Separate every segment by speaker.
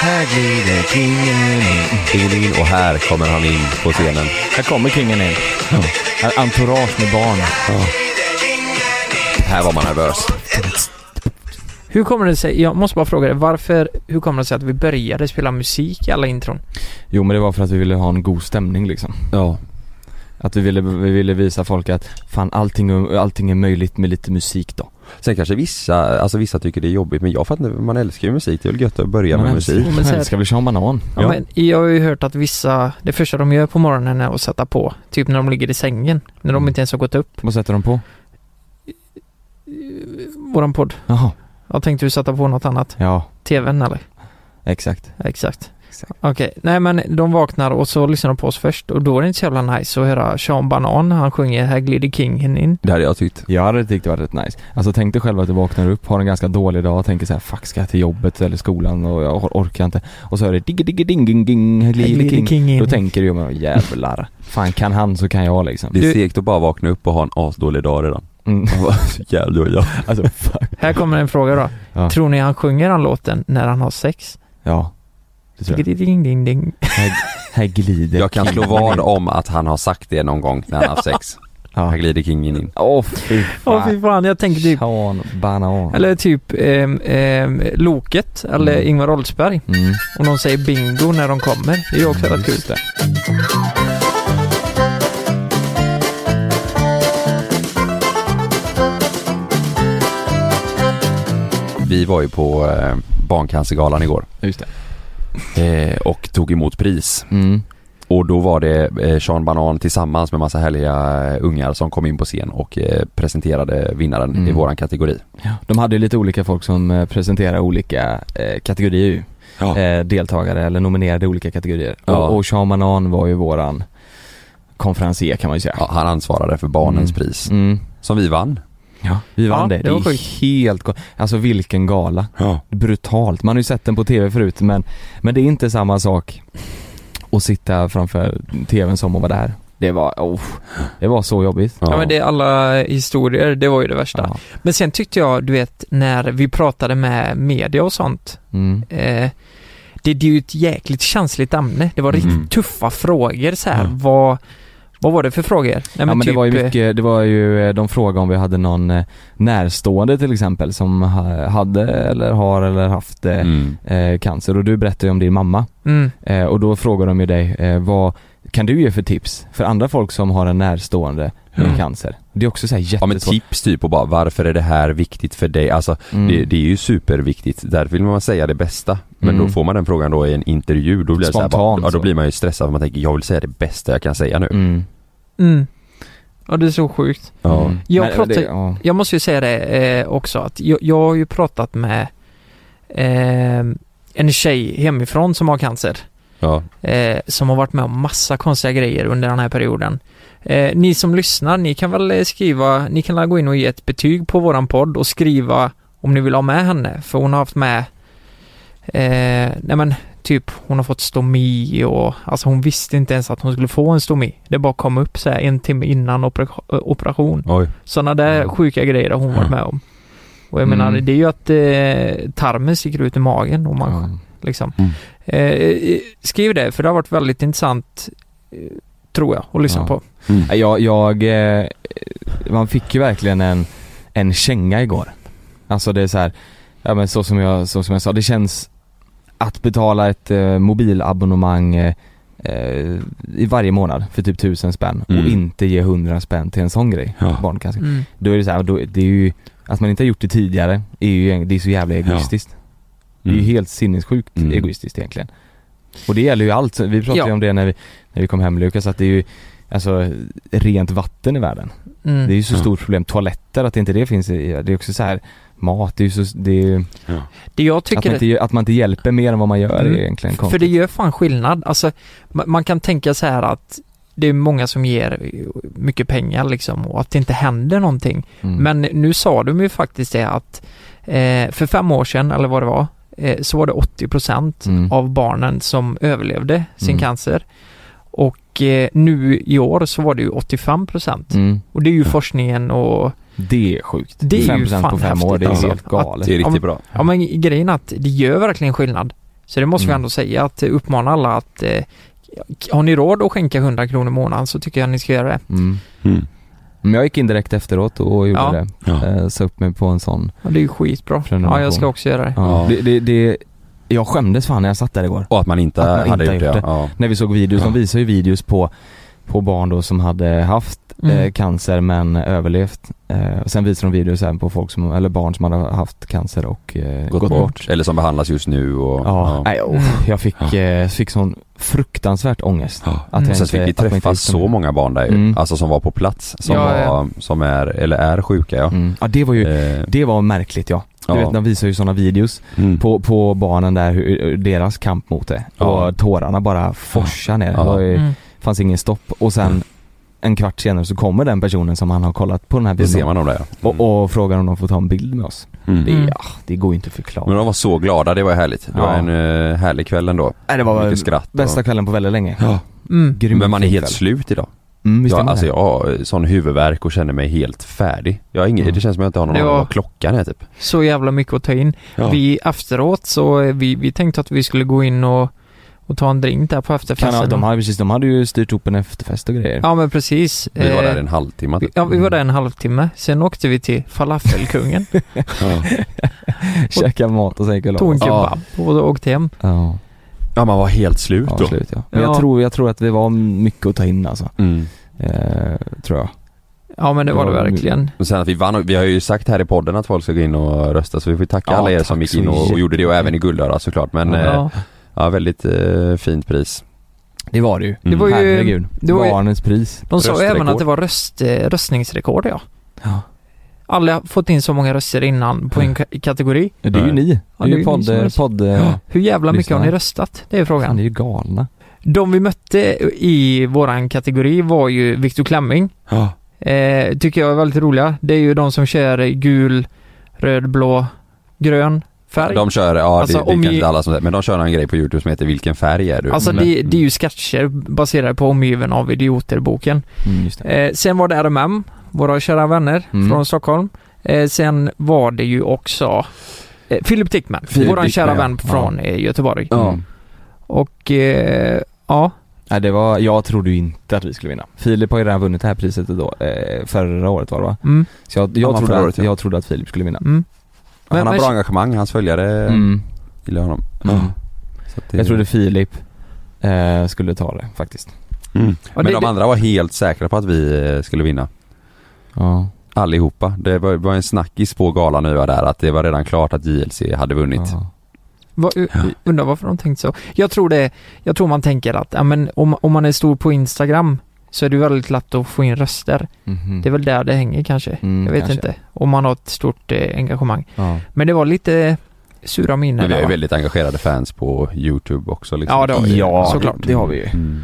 Speaker 1: Här glider kingen in.
Speaker 2: Kingen in och här kommer han in på scenen.
Speaker 3: Här kommer kingen in. Här Entourage med barn.
Speaker 2: Här var man nervös.
Speaker 4: Hur kommer det sig, jag måste bara fråga dig, varför, hur kommer det sig att vi började spela musik i alla intron?
Speaker 3: Jo men det var för att vi ville ha en god stämning liksom.
Speaker 1: Ja.
Speaker 3: Att vi ville, vi ville visa folk att fan allting, allting är möjligt med lite musik då.
Speaker 2: Sen kanske vissa, alltså vissa tycker det är jobbigt men jag fattar inte, man älskar ju musik. Det är väl gött att börja med musik.
Speaker 4: men
Speaker 3: Men
Speaker 4: så här-
Speaker 3: sen ska vi köra banan.
Speaker 4: Ja. men jag har ju hört att vissa, det första de gör på morgonen är att sätta på, typ när de ligger i sängen, när de
Speaker 3: Mm.
Speaker 4: inte ens har gått upp,
Speaker 3: Vad sätter de på?
Speaker 4: våran podd.
Speaker 3: Jaha.
Speaker 4: Jag tänkte du sätta på något annat?
Speaker 3: Ja,
Speaker 4: TVn eller?
Speaker 3: exakt.
Speaker 4: Exakt. Okej, nej men de vaknar och så lyssnar de på oss först och då är det inte så jävla nice att höra Sean Banan, han sjunger Här glider kingen in.
Speaker 2: Det hade jag tyckt.
Speaker 3: Jag hade tyckt det var rätt nice. Alltså tänk dig själv att du vaknar upp, har en ganska dålig dag och tänker så här, fuck ska jag till jobbet eller skolan och jag or- orkar inte. Och så hör det digge digge ding ding ding,
Speaker 4: Här
Speaker 3: glider
Speaker 4: glider
Speaker 3: king.
Speaker 4: kingen
Speaker 3: Då
Speaker 4: in.
Speaker 3: tänker du ju men jävlar. Fan kan han så kan jag liksom.
Speaker 2: Det är
Speaker 4: Du-
Speaker 2: segt att bara vakna upp och ha en asdålig dag redan.
Speaker 3: Mm.
Speaker 2: Så jävla dålig dag.
Speaker 3: Alltså fuck.
Speaker 4: Här kommer en fråga då.
Speaker 3: Ja.
Speaker 4: Tror ni han sjunger den låten när han har sex?
Speaker 3: Ja. Det tror jag.
Speaker 4: Ding, ding, ding, ding.
Speaker 3: Här, här glider
Speaker 2: Jag kan slå
Speaker 3: kingen
Speaker 2: vad
Speaker 3: in.
Speaker 2: om att han har sagt det någon gång när han har haft sex. Här
Speaker 3: Ja.
Speaker 2: glider kingen in.
Speaker 3: Åh fy
Speaker 4: Åh fy
Speaker 3: fan.
Speaker 4: fan, jag tänker typ
Speaker 3: Sean Banan.
Speaker 4: Eller typ ehm, ehm, Loket eller
Speaker 3: Mm.
Speaker 4: Ingvar Oldsberg.
Speaker 3: Mm.
Speaker 4: Om de säger bingo när de kommer. Det är ju också rätt kul.
Speaker 3: Just det.
Speaker 2: Vi var ju på eh, Barncancergalan igår
Speaker 3: Just det.
Speaker 2: eh, och tog emot pris.
Speaker 3: Mm.
Speaker 2: Och då var det eh, Sean Banan tillsammans med massa härliga eh, ungar som kom in på scen och eh, presenterade vinnaren
Speaker 3: Mm.
Speaker 2: i våran kategori.
Speaker 3: De hade ju lite olika folk som eh, presenterade olika eh, kategorier ju.
Speaker 2: Ja.
Speaker 3: eh, deltagare eller nominerade i olika kategorier.
Speaker 2: Ja.
Speaker 3: Och, och Sean Banan var ju våran konferencier kan man ju säga.
Speaker 2: Ja, han ansvarade för barnens
Speaker 3: Mm.
Speaker 2: pris
Speaker 3: Mm.
Speaker 2: som vi vann.
Speaker 3: Ja, vi vann
Speaker 4: Ja,
Speaker 3: det.
Speaker 4: det
Speaker 3: Det
Speaker 4: var
Speaker 3: är
Speaker 4: sjukt.
Speaker 3: helt galet. Alltså vilken gala.
Speaker 2: Ja.
Speaker 3: Brutalt. Man har ju sett den på tv förut men, men det är inte samma sak att sitta framför tvn som att vara där. Det var, oh, det var så jobbigt.
Speaker 4: Ja men det är alla historier, det var ju det värsta.
Speaker 3: Ja.
Speaker 4: Men sen tyckte jag, du vet, när vi pratade med media och sånt.
Speaker 3: Mm.
Speaker 4: Eh, det, det är ju ett jäkligt känsligt ämne. Det var
Speaker 2: Mm.
Speaker 4: riktigt tuffa frågor så här.
Speaker 3: Ja.
Speaker 4: Vad, vad var det för frågor? Nej,
Speaker 3: Ja men det var ju
Speaker 4: eh,
Speaker 3: mycket, det var ju, eh, de frågade om vi hade någon eh, närstående till exempel som ha- hade eller har eller haft eh,
Speaker 2: Mm.
Speaker 3: eh, cancer och du berättade ju om din mamma
Speaker 4: Mm,
Speaker 3: eh, och då frågar de ju dig eh, vad kan du ge för tips för andra folk som har en närstående med
Speaker 4: Mm.
Speaker 3: cancer? Det är också så här
Speaker 2: Ja men
Speaker 3: jättesvårt.
Speaker 2: tips typ och bara varför är det här viktigt för dig? Alltså
Speaker 3: Mm.
Speaker 2: det, det är ju superviktigt. Därför vill man säga det bästa. Men
Speaker 3: Mm.
Speaker 2: då får man den frågan då i en intervju. Då blir, det så här, bara,
Speaker 3: Spontant,
Speaker 2: ja, då
Speaker 3: så.
Speaker 2: blir man ju stressad för man tänker jag vill säga det bästa jag kan säga nu.
Speaker 3: Mm.
Speaker 4: mm. Ja det är så sjukt.
Speaker 2: Ja.
Speaker 3: Mm.
Speaker 4: Jag
Speaker 3: Men
Speaker 4: pratar-
Speaker 3: det- ja.
Speaker 4: Jag måste ju säga det eh, också att jag, jag har ju pratat med eh, en tjej hemifrån som har cancer.
Speaker 2: Ja.
Speaker 4: Eh, som har varit med om massa konstiga grejer under den här perioden. Eh, ni som lyssnar, ni kan väl eh, skriva, ni kan väl gå in och ge ett betyg på våran podd och skriva om ni vill ha med henne. För hon har haft med, eh, nej men typ hon har fått stomi och alltså hon visste inte ens att hon skulle få en stomi. Det bara kom upp så här en timme innan opera- eh, operation.
Speaker 2: Oj.
Speaker 4: Sådana där sjuka grejer har hon varit med om. Och jag menar,
Speaker 3: Mm.
Speaker 4: det är ju att eh, tarmen sticker ut i magen och man
Speaker 3: Ja.
Speaker 4: liksom.
Speaker 2: Mm.
Speaker 4: Eh, Eh, skriv det, för det har varit väldigt intressant, eh, tror jag, att lyssna
Speaker 3: Ja.
Speaker 4: på.
Speaker 2: Mm.
Speaker 3: Nej, Jag, jag, eh, man fick ju verkligen en, en känga igår. Alltså det är så här, ja men så som jag, så som jag sa, det känns att betala ett eh, mobilabonnemang eh, eh, i varje månad för typ tusen spänn
Speaker 2: Mm.
Speaker 3: och inte ge hundra spänn till en sån grej,
Speaker 2: Ja.
Speaker 3: barncancer. Då är det så här, då, det är ju, att man inte har gjort det tidigare är ju, egent- det är så jävla egoistiskt. Det är ju helt sinnessjukt
Speaker 2: Mm.
Speaker 3: egoistiskt egentligen. Och det gäller ju allt. Vi pratade
Speaker 4: Ja.
Speaker 3: ju om det när vi, när vi kom hem Lukas, att det är ju Alltså rent vatten i världen.
Speaker 4: Mm.
Speaker 3: Det är ju så
Speaker 2: Ja.
Speaker 3: stort problem. Toaletter, att inte det finns i, det är också så här Mat, det är ju så, det är ju,
Speaker 4: Det jag
Speaker 3: att,
Speaker 4: tycker,
Speaker 3: man inte, att man inte hjälper mer än vad man gör
Speaker 4: Mm.
Speaker 3: är egentligen
Speaker 4: för
Speaker 3: konstigt.
Speaker 4: det gör fan skillnad. Alltså, man, man kan tänka så här att det är många som ger eh, mycket pengar liksom och att det inte händer någonting.
Speaker 3: Mm.
Speaker 4: Men nu sa de ju faktiskt det att eh, för fem år sedan, eller vad det var, eh, så var det 80 procent
Speaker 3: Mm.
Speaker 4: av barnen som överlevde sin
Speaker 3: Mm.
Speaker 4: cancer. Och eh, nu i år så var det ju 85 procent.
Speaker 3: mm.
Speaker 4: Och det är ju forskningen och
Speaker 3: Det är sjukt.
Speaker 4: Det är ju
Speaker 3: 5%
Speaker 4: fan
Speaker 3: på fem år, det är
Speaker 4: häftigt,
Speaker 3: helt
Speaker 4: alltså. Att-
Speaker 3: galet.
Speaker 2: Det är
Speaker 4: Ja, men-
Speaker 2: riktigt bra.
Speaker 4: ja men grejen är att det gör verkligen skillnad. Så det måste vi
Speaker 2: Mm.
Speaker 4: ändå säga att eh, uppmana alla att eh, har ni råd att skänka 100 kronor i månaden så tycker jag ni ska göra det.
Speaker 3: Mm.
Speaker 2: Mm.
Speaker 3: Men jag gick in direkt efteråt och gjorde
Speaker 4: Ja.
Speaker 3: det.
Speaker 2: Ja.
Speaker 3: Eh, sa upp mig på en sån.
Speaker 4: Ja, det är ju skitbra.
Speaker 3: Prenumeration.
Speaker 4: Ja, jag ska också göra det.
Speaker 3: Ja.
Speaker 2: Ja.
Speaker 3: Det, det, det, jag skämdes fan när jag satt där igår.
Speaker 2: Och att man inte
Speaker 3: Att man
Speaker 2: hade
Speaker 3: inte
Speaker 2: gjort
Speaker 3: gjort
Speaker 2: det.
Speaker 3: det.
Speaker 2: Ja.
Speaker 3: När vi såg videos,
Speaker 2: Ja.
Speaker 3: de visar ju videos på, på barn då som hade haft
Speaker 4: Mm.
Speaker 3: eh, cancer men överlevt. Eh, och sen visar de videos även på folk som, eller barn som hade haft cancer och eh,
Speaker 2: Gått, bort. Eller som behandlas just nu och...
Speaker 3: Ja, nej, oh,
Speaker 4: Mm.
Speaker 3: jag fick, eh, fick sån fruktansvärt ångest.
Speaker 2: Ja.
Speaker 3: Att
Speaker 4: Mm.
Speaker 3: jag
Speaker 2: Sen
Speaker 3: inte-
Speaker 2: fick vi
Speaker 3: att man inte
Speaker 2: träffa
Speaker 3: visste om
Speaker 2: så
Speaker 3: det.
Speaker 2: många barn där ju.
Speaker 3: Mm.
Speaker 2: Alltså som var på plats. Som,
Speaker 4: Ja, ja.
Speaker 2: var, som är, eller är sjuka ja.
Speaker 3: Mm. Ja, det var ju,
Speaker 2: Eh,
Speaker 3: det var märkligt ja. Du
Speaker 2: ja.
Speaker 3: vet, de visar ju sådana videos
Speaker 2: Mm.
Speaker 3: på, på barnen där, hur, hur deras kamp mot det.
Speaker 2: Ja.
Speaker 3: Och tårarna bara forsar ner.
Speaker 2: Ja.
Speaker 3: Det var ju,
Speaker 4: Mm.
Speaker 3: fanns ingen stopp. Och sen
Speaker 2: Mm.
Speaker 3: en kvart senare så kommer den personen som han har kollat på den här
Speaker 2: Det
Speaker 3: bilden
Speaker 2: ser man om det ja. Mm.
Speaker 3: och, och frågar om de får ta en bild med oss.
Speaker 2: Mm.
Speaker 3: Det,
Speaker 4: Mm.
Speaker 3: ja, det går ju inte att förklara.
Speaker 2: Men de var så glada, det var härligt. Det var
Speaker 3: Ja.
Speaker 2: en eh, härlig kväll ändå.
Speaker 3: Nej, det var
Speaker 2: Mycket skratt.
Speaker 3: bästa
Speaker 2: och...
Speaker 3: kvällen på väldigt länge.
Speaker 2: Ja.
Speaker 4: Mm.
Speaker 3: Grymt
Speaker 2: Men man är
Speaker 3: fin
Speaker 2: helt
Speaker 3: kväll.
Speaker 2: slut idag.
Speaker 3: Mm, visst är
Speaker 2: Jag,
Speaker 3: man
Speaker 2: alltså
Speaker 3: det?
Speaker 2: jag har sån huvudvärk och känner mig helt färdig. Jag har ingen,
Speaker 3: Mm.
Speaker 2: Det känns som att jag inte har någon
Speaker 4: Ja.
Speaker 2: aning om vad klockan är typ.
Speaker 4: Så jävla mycket att ta in.
Speaker 2: Ja.
Speaker 4: Vi efteråt så eh, vi, vi tänkte att vi skulle gå in och, och ta en drink där på
Speaker 3: kan ha,
Speaker 4: efterfesten.
Speaker 3: de, hade, precis, de hade ju styrt upp en efterfest och grejer.
Speaker 4: Ja men precis.
Speaker 2: Vi var där
Speaker 4: Eh,
Speaker 2: en halvtimme typ.
Speaker 4: Ja, vi var där en halvtimme. Sen åkte vi till falafelkungen,
Speaker 2: Ja.
Speaker 3: Käka mat och sen gick vi och la
Speaker 4: tog en
Speaker 3: oss.
Speaker 4: kebab och åkte hem.
Speaker 3: Ja,
Speaker 2: ja, man var helt slut
Speaker 3: ja,
Speaker 2: då.
Speaker 3: slut ja. Men jag
Speaker 4: Ja.
Speaker 3: tror, jag tror att det var mycket att ta in alltså.
Speaker 2: Mm.
Speaker 3: Eh, tror jag.
Speaker 4: Ja men det var det
Speaker 3: Ja,
Speaker 4: verkligen.
Speaker 2: Och sen att vi vann, och- vi har ju sagt här i podden att folk ska gå in och rösta så vi får tacka
Speaker 3: Ja,
Speaker 2: alla er
Speaker 3: tack
Speaker 2: som gick
Speaker 3: så
Speaker 2: in och, och gjorde det och även i Guldörat såklart men ja, eh,
Speaker 4: Ja.
Speaker 2: ja väldigt eh, fint pris.
Speaker 3: Det var det ju.
Speaker 2: Mm.
Speaker 4: var ju-
Speaker 3: Herregud.
Speaker 4: det var ju-
Speaker 3: Barnens pris.
Speaker 4: De sa ju
Speaker 2: Röstrekord.
Speaker 4: även att det var röst, eh, röstningsrekord ja.
Speaker 3: Ja.
Speaker 4: Aldrig fått in så många röster innan på en ka- kategori.
Speaker 3: Det är ju
Speaker 2: Nej.
Speaker 3: ni.
Speaker 4: Ja,
Speaker 3: det är
Speaker 4: det
Speaker 3: ju
Speaker 4: är ni som är-
Speaker 3: podd... podd
Speaker 4: Ja. Hur jävla mycket
Speaker 3: lyssna.
Speaker 4: har ni röstat? Det är
Speaker 3: Fan,
Speaker 4: frågan.
Speaker 3: ni är ju galna.
Speaker 4: De vi mötte i våran kategori var ju Viktor Klemming.
Speaker 2: Ja.
Speaker 4: Eh, tycker jag är väldigt roliga. Det är ju de som kör gul, röd, blå, grön färg.
Speaker 2: De kör, ja
Speaker 4: Alltså,
Speaker 2: det, det
Speaker 4: om
Speaker 2: kanske
Speaker 4: vi-
Speaker 2: inte alla som men de kör en grej på youtube som heter Vilken färg är du?
Speaker 4: Alltså
Speaker 2: Men-
Speaker 4: det, det är ju sketcher baserade på Omgiven av idioter-boken.
Speaker 3: Mm, just det.
Speaker 4: Eh, sen var det RMM, våra kära vänner
Speaker 3: Mm.
Speaker 4: från Stockholm. Eh, sen var det ju också eh, Philip Dickman,
Speaker 2: Philip
Speaker 4: våran
Speaker 2: Dickman,
Speaker 4: kära
Speaker 2: ja.
Speaker 4: vän
Speaker 3: Ja.
Speaker 4: från eh, Göteborg.
Speaker 2: Ja.
Speaker 3: Mm.
Speaker 4: Och eh, ja,
Speaker 3: Nej, det var, jag trodde ju inte att vi skulle vinna. Filip har ju redan vunnit det här priset då, eh, förra året var det va?
Speaker 4: mm,
Speaker 3: Så jag,
Speaker 2: Ja,
Speaker 3: jag,
Speaker 2: men
Speaker 3: trodde,
Speaker 2: förra
Speaker 3: att,
Speaker 2: året, ja.
Speaker 3: jag trodde att Filip skulle vinna.
Speaker 4: mm.
Speaker 2: han
Speaker 4: Men-
Speaker 2: har
Speaker 4: men-
Speaker 2: bra engagemang, hans följare
Speaker 3: Mm.
Speaker 2: gillar honom.
Speaker 3: Mm.
Speaker 2: Så att det-
Speaker 3: Jag trodde Filip eh, skulle ta det faktiskt.
Speaker 2: Mm.
Speaker 4: Och
Speaker 2: Men
Speaker 4: det-
Speaker 2: de andra var helt säkra på att vi eh, skulle vinna.
Speaker 3: Ja.
Speaker 2: Allihopa. Det var, var en snackis på galan nu var där att det var redan klart att JLC hade vunnit.
Speaker 3: Ja.
Speaker 4: Va, Undrar varför de tänkt så. Jag tror det, jag tror man tänker att ja, men om, om man är stor på Instagram så är det väldigt lätt att få in röster.
Speaker 3: Mhm.
Speaker 4: Det är väl där det hänger kanske.
Speaker 3: Mm,
Speaker 4: jag vet
Speaker 3: kanske.
Speaker 4: inte. Om man har ett stort eh, engagemang.
Speaker 3: Ja.
Speaker 4: Men det var lite sura miner
Speaker 2: Men vi har
Speaker 4: där,
Speaker 2: ju
Speaker 4: va?
Speaker 2: väldigt engagerade fans på YouTube också liksom.
Speaker 4: Ja, det har vi.
Speaker 3: Ja,
Speaker 4: såklart.
Speaker 3: det har vi ju.
Speaker 2: Mm.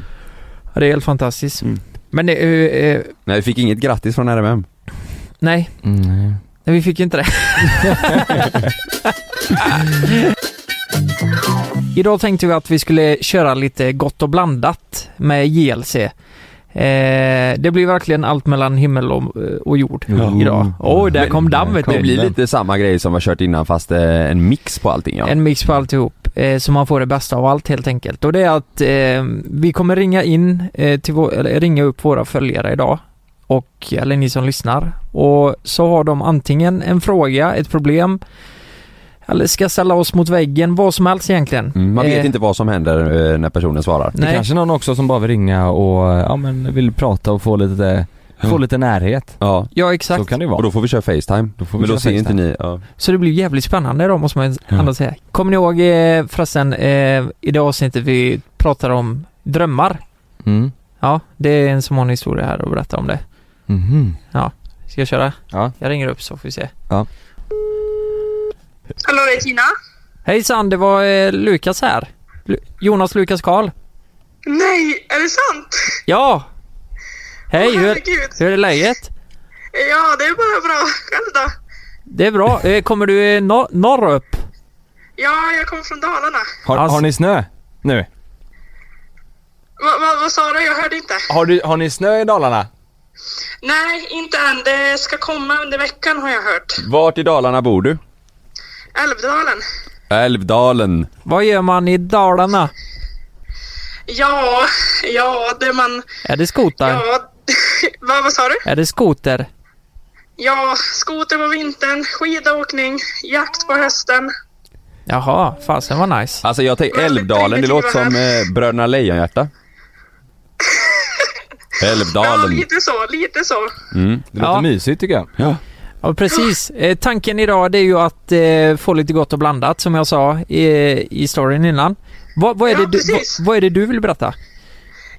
Speaker 4: Ja, Det är helt fantastiskt.
Speaker 2: Mm.
Speaker 4: Men det, eh, eh,
Speaker 2: Nej, vi fick inget grattis från RMM.
Speaker 4: nej,
Speaker 3: Mm.
Speaker 4: nej, vi fick inte det. Idag tänkte vi att vi skulle köra lite gott och blandat med JLC. Eh, det blir verkligen allt mellan himmel och, eh, och jord
Speaker 3: Ja.
Speaker 4: idag. Åh, där kom dammet.
Speaker 2: Det
Speaker 3: kom
Speaker 2: blir
Speaker 3: den.
Speaker 2: lite samma grej som vi har kört innan fast eh, en mix på allting ja.
Speaker 4: En mix på alltihop, eh, så man får det bästa av allt helt enkelt. Och det är att eh, vi kommer ringa in, eh, till vår, eller ringa upp våra följare idag. Och, eller ni som lyssnar. Och så har de antingen en fråga, ett problem, eller ska ställa oss mot väggen, vad som helst egentligen.
Speaker 2: Mm, man vet
Speaker 4: Eh,
Speaker 2: inte vad som händer eh, när personen svarar.
Speaker 3: Det
Speaker 4: Nej.
Speaker 3: kanske är någon också som bara vill ringa och eh, ja, men vill prata och få lite, få
Speaker 2: Ja.
Speaker 3: lite närhet.
Speaker 2: Ja,
Speaker 4: Ja,
Speaker 3: Så
Speaker 4: exakt.
Speaker 3: kan det ju
Speaker 2: och
Speaker 3: vara.
Speaker 2: då får vi köra Facetime.
Speaker 3: Då får vi
Speaker 2: Men då
Speaker 3: köra
Speaker 2: ser inte
Speaker 3: FaceTime.
Speaker 2: ni. Ja.
Speaker 4: Så det blir jävligt spännande då måste man ändå säga. Kommer ni ihåg eh, förresten, eh, i det avsnittet vi pratade om drömmar?
Speaker 3: Mm.
Speaker 4: Ja, det är en som har en historia här att berätta om det.
Speaker 3: Mhm.
Speaker 4: Ska jag köra?
Speaker 3: Ja.
Speaker 4: Jag ringer upp så får vi se.
Speaker 5: Hallå, det är Tina.
Speaker 4: Hejsan, det var eh, Lukas här. Lu- Jonas Lukas Karl.
Speaker 5: Nej, är det sant?
Speaker 4: Ja! Hej,
Speaker 5: Åh,
Speaker 4: hur,
Speaker 5: herregud.
Speaker 4: hur är läget?
Speaker 5: Ja, det är bara bra. Själv då?
Speaker 4: Det är bra. Eh, kommer du eh, nor- norr upp?
Speaker 5: Ja, jag kommer från Dalarna.
Speaker 3: Har,
Speaker 4: Alltså-
Speaker 3: har ni snö nu?
Speaker 5: Va, va, vad sa du? Jag hörde inte.
Speaker 3: Har, du, har ni snö i Dalarna?
Speaker 5: Nej, inte än. Det ska komma under veckan har jag hört.
Speaker 2: Vart i Dalarna bor du?
Speaker 5: Älvdalen.
Speaker 2: Älvdalen.
Speaker 4: Vad gör man i Dalarna?
Speaker 5: Ja, ja, det man...
Speaker 4: Är det skotar?
Speaker 5: Ja, vad, vad sa du?
Speaker 4: Är det skoter?
Speaker 5: Ja, skoter på vintern, skidåkning, jakt på hösten.
Speaker 4: Jaha, fasen var nice.
Speaker 2: Alltså jag tänker
Speaker 5: Väldigt
Speaker 2: Älvdalen, det låter som eh, Bröderna Lejonhjärta.
Speaker 5: Ja,
Speaker 2: Älvdalen.
Speaker 5: lite så, lite så.
Speaker 3: Det låter
Speaker 4: Ja.
Speaker 3: mysigt tycker jag.
Speaker 2: Ja.
Speaker 4: Ja, precis. Eh, tanken idag det är ju att eh, få lite gott och blandat som jag sa i, i storyn innan. Vad, vad, är
Speaker 5: Ja,
Speaker 4: det du, vad,
Speaker 5: precis.
Speaker 4: vad är det du vill berätta?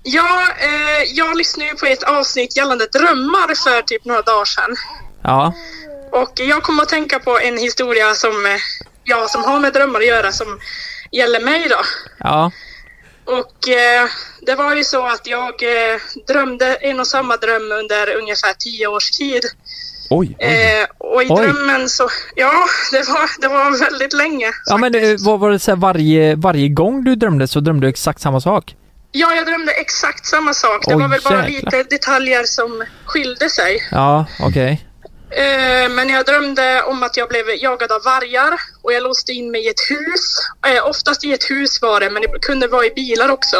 Speaker 5: Ja, eh, jag lyssnade ju på ett avsnitt gällande drömmar för typ några dagar sedan.
Speaker 4: Ja,
Speaker 5: Och jag kom att tänka på en historia som, eh, ja, som har med drömmar att göra som gäller mig då.
Speaker 4: ja,
Speaker 5: Och eh, det var ju så att jag eh, drömde en och samma dröm under ungefär tio års tid.
Speaker 2: Oj.
Speaker 5: Eh, och i
Speaker 4: Oj.
Speaker 5: drömmen så, ja, det var, det var väldigt länge.
Speaker 4: ja men eh,
Speaker 5: faktiskt.
Speaker 4: vad var det så här, varje, varje gång du drömde så drömde du exakt samma sak?
Speaker 5: Ja, jag drömde exakt samma sak. Det
Speaker 4: Oj,
Speaker 5: var väl bara
Speaker 4: jäklar.
Speaker 5: lite detaljer som skilde sig.
Speaker 4: Ja, okej.
Speaker 5: Eh, men jag drömde om att jag blev jagad av vargar och jag låste in mig i ett hus. Eh, oftast i ett hus var det, men det kunde vara i bilar också.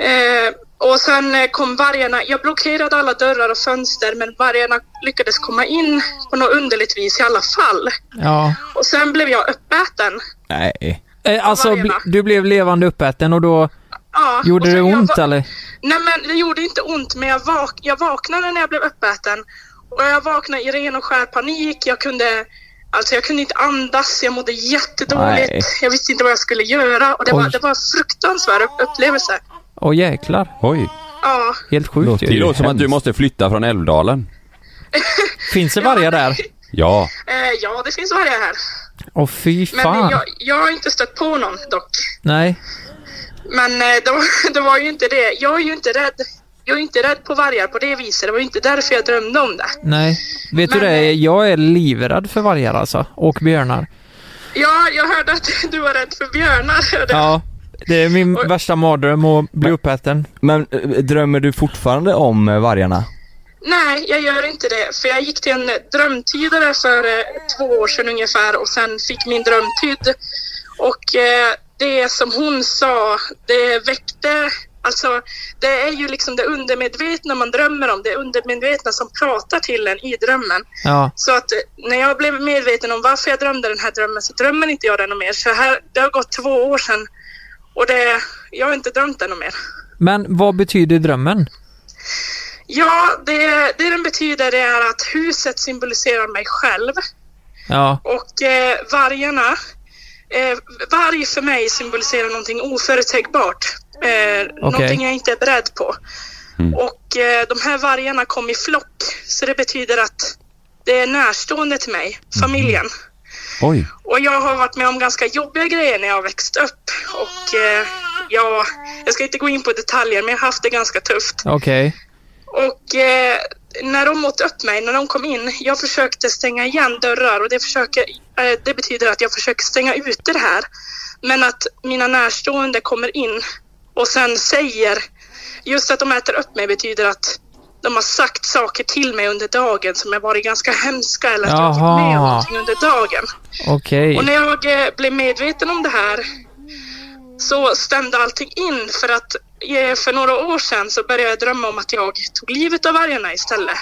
Speaker 5: Eh, och sen eh, kom vargarna. Jag blockerade alla dörrar och fönster, men vargarna lyckades komma in på något underligt vis i alla fall.
Speaker 4: Ja.
Speaker 5: Och sen blev jag uppäten.
Speaker 3: Nej.
Speaker 4: Eh, alltså,
Speaker 5: vargarna.
Speaker 4: bl- du blev levande uppäten och då
Speaker 5: Ja, och
Speaker 4: gjorde
Speaker 5: sen
Speaker 4: det
Speaker 5: jag
Speaker 4: ont
Speaker 5: va-
Speaker 4: eller?
Speaker 5: Nej, men det gjorde inte ont, men jag, vak- jag vaknade när jag blev uppäten. Och jag vaknade i ren och skär panik. Jag kunde, alltså jag kunde inte andas, jag mådde jättedåligt.
Speaker 3: Nej.
Speaker 5: Jag visste inte vad jag skulle göra. Och det,
Speaker 4: Oj.
Speaker 5: var, det var en fruktansvärd upp- upplevelse.
Speaker 4: Åh jäklar.
Speaker 2: Oj.
Speaker 5: Ja.
Speaker 4: Helt sjukt
Speaker 3: Låter
Speaker 2: Det
Speaker 4: ju.
Speaker 3: ju-
Speaker 2: låter som att
Speaker 3: hemskt.
Speaker 2: du måste flytta från Älvdalen.
Speaker 4: Finns det vargar där?
Speaker 2: Ja.
Speaker 5: Eh, ja, det finns vargar här.
Speaker 4: Åh fy
Speaker 5: Men
Speaker 4: fan.
Speaker 5: jag, jag har inte stött på någon dock.
Speaker 4: Nej.
Speaker 5: Men eh, det, var, det var ju inte det. Jag är ju inte rädd. Jag är inte rädd på vargar på det viset. Det var ju inte därför jag drömde om det.
Speaker 4: Nej. Vet du
Speaker 5: Men-
Speaker 4: det? Jag är livrädd för vargar alltså. Och björnar.
Speaker 5: Ja, jag hörde att du var rädd för björnar. hörde jag.
Speaker 4: Ja. Det är min
Speaker 5: Oj.
Speaker 4: värsta mardröm att bli uppäten.
Speaker 3: Men eh, drömmer du fortfarande om eh, vargarna?
Speaker 5: Nej, jag gör inte det. För jag gick till en drömtydare för eh, två år sedan ungefär och sen fick min dröm tydd. Och eh, det som hon sa, det väckte... Alltså, det är ju liksom det undermedvetna man drömmer om. Det undermedvetna som pratar till en i drömmen.
Speaker 4: Ja.
Speaker 5: Så att eh, när jag blev medveten om varför jag drömde den här drömmen så drömmer inte jag den något mer. Så här, det har gått två år sedan och det, jag har inte drömt den något mer.
Speaker 4: Men vad betyder drömmen?
Speaker 5: Ja, det, det den betyder det är att huset symboliserar mig själv
Speaker 4: Ja.
Speaker 5: och eh, vargarna, eh, varg för mig symboliserar någonting oförutsägbart. Eh, Någonting jag inte är beredd på. Och eh, de här vargarna kom i flock så det betyder att det är närstående till mig, familjen.
Speaker 2: Oj.
Speaker 5: Och jag har varit med om ganska jobbiga grejer när jag växt upp och eh, ja, jag ska inte gå in på detaljer men jag har haft det ganska tufft.
Speaker 4: Okej.
Speaker 5: Och eh, när de åt upp mig, när de kom in, jag försökte stänga igen dörrar och det, försöker, eh, det betyder att jag försöker stänga ute det här. Men att mina närstående kommer in och sen säger, just att de äter upp mig betyder att de har sagt saker till mig under dagen som har varit ganska hemska eller att jag har varit med om
Speaker 4: Jaha.
Speaker 5: någonting under dagen.
Speaker 4: Okej.
Speaker 5: Och när jag eh, blev medveten om det här så stämde allting in för att eh, för några år sedan så började jag drömma om att jag tog livet av vargarna istället.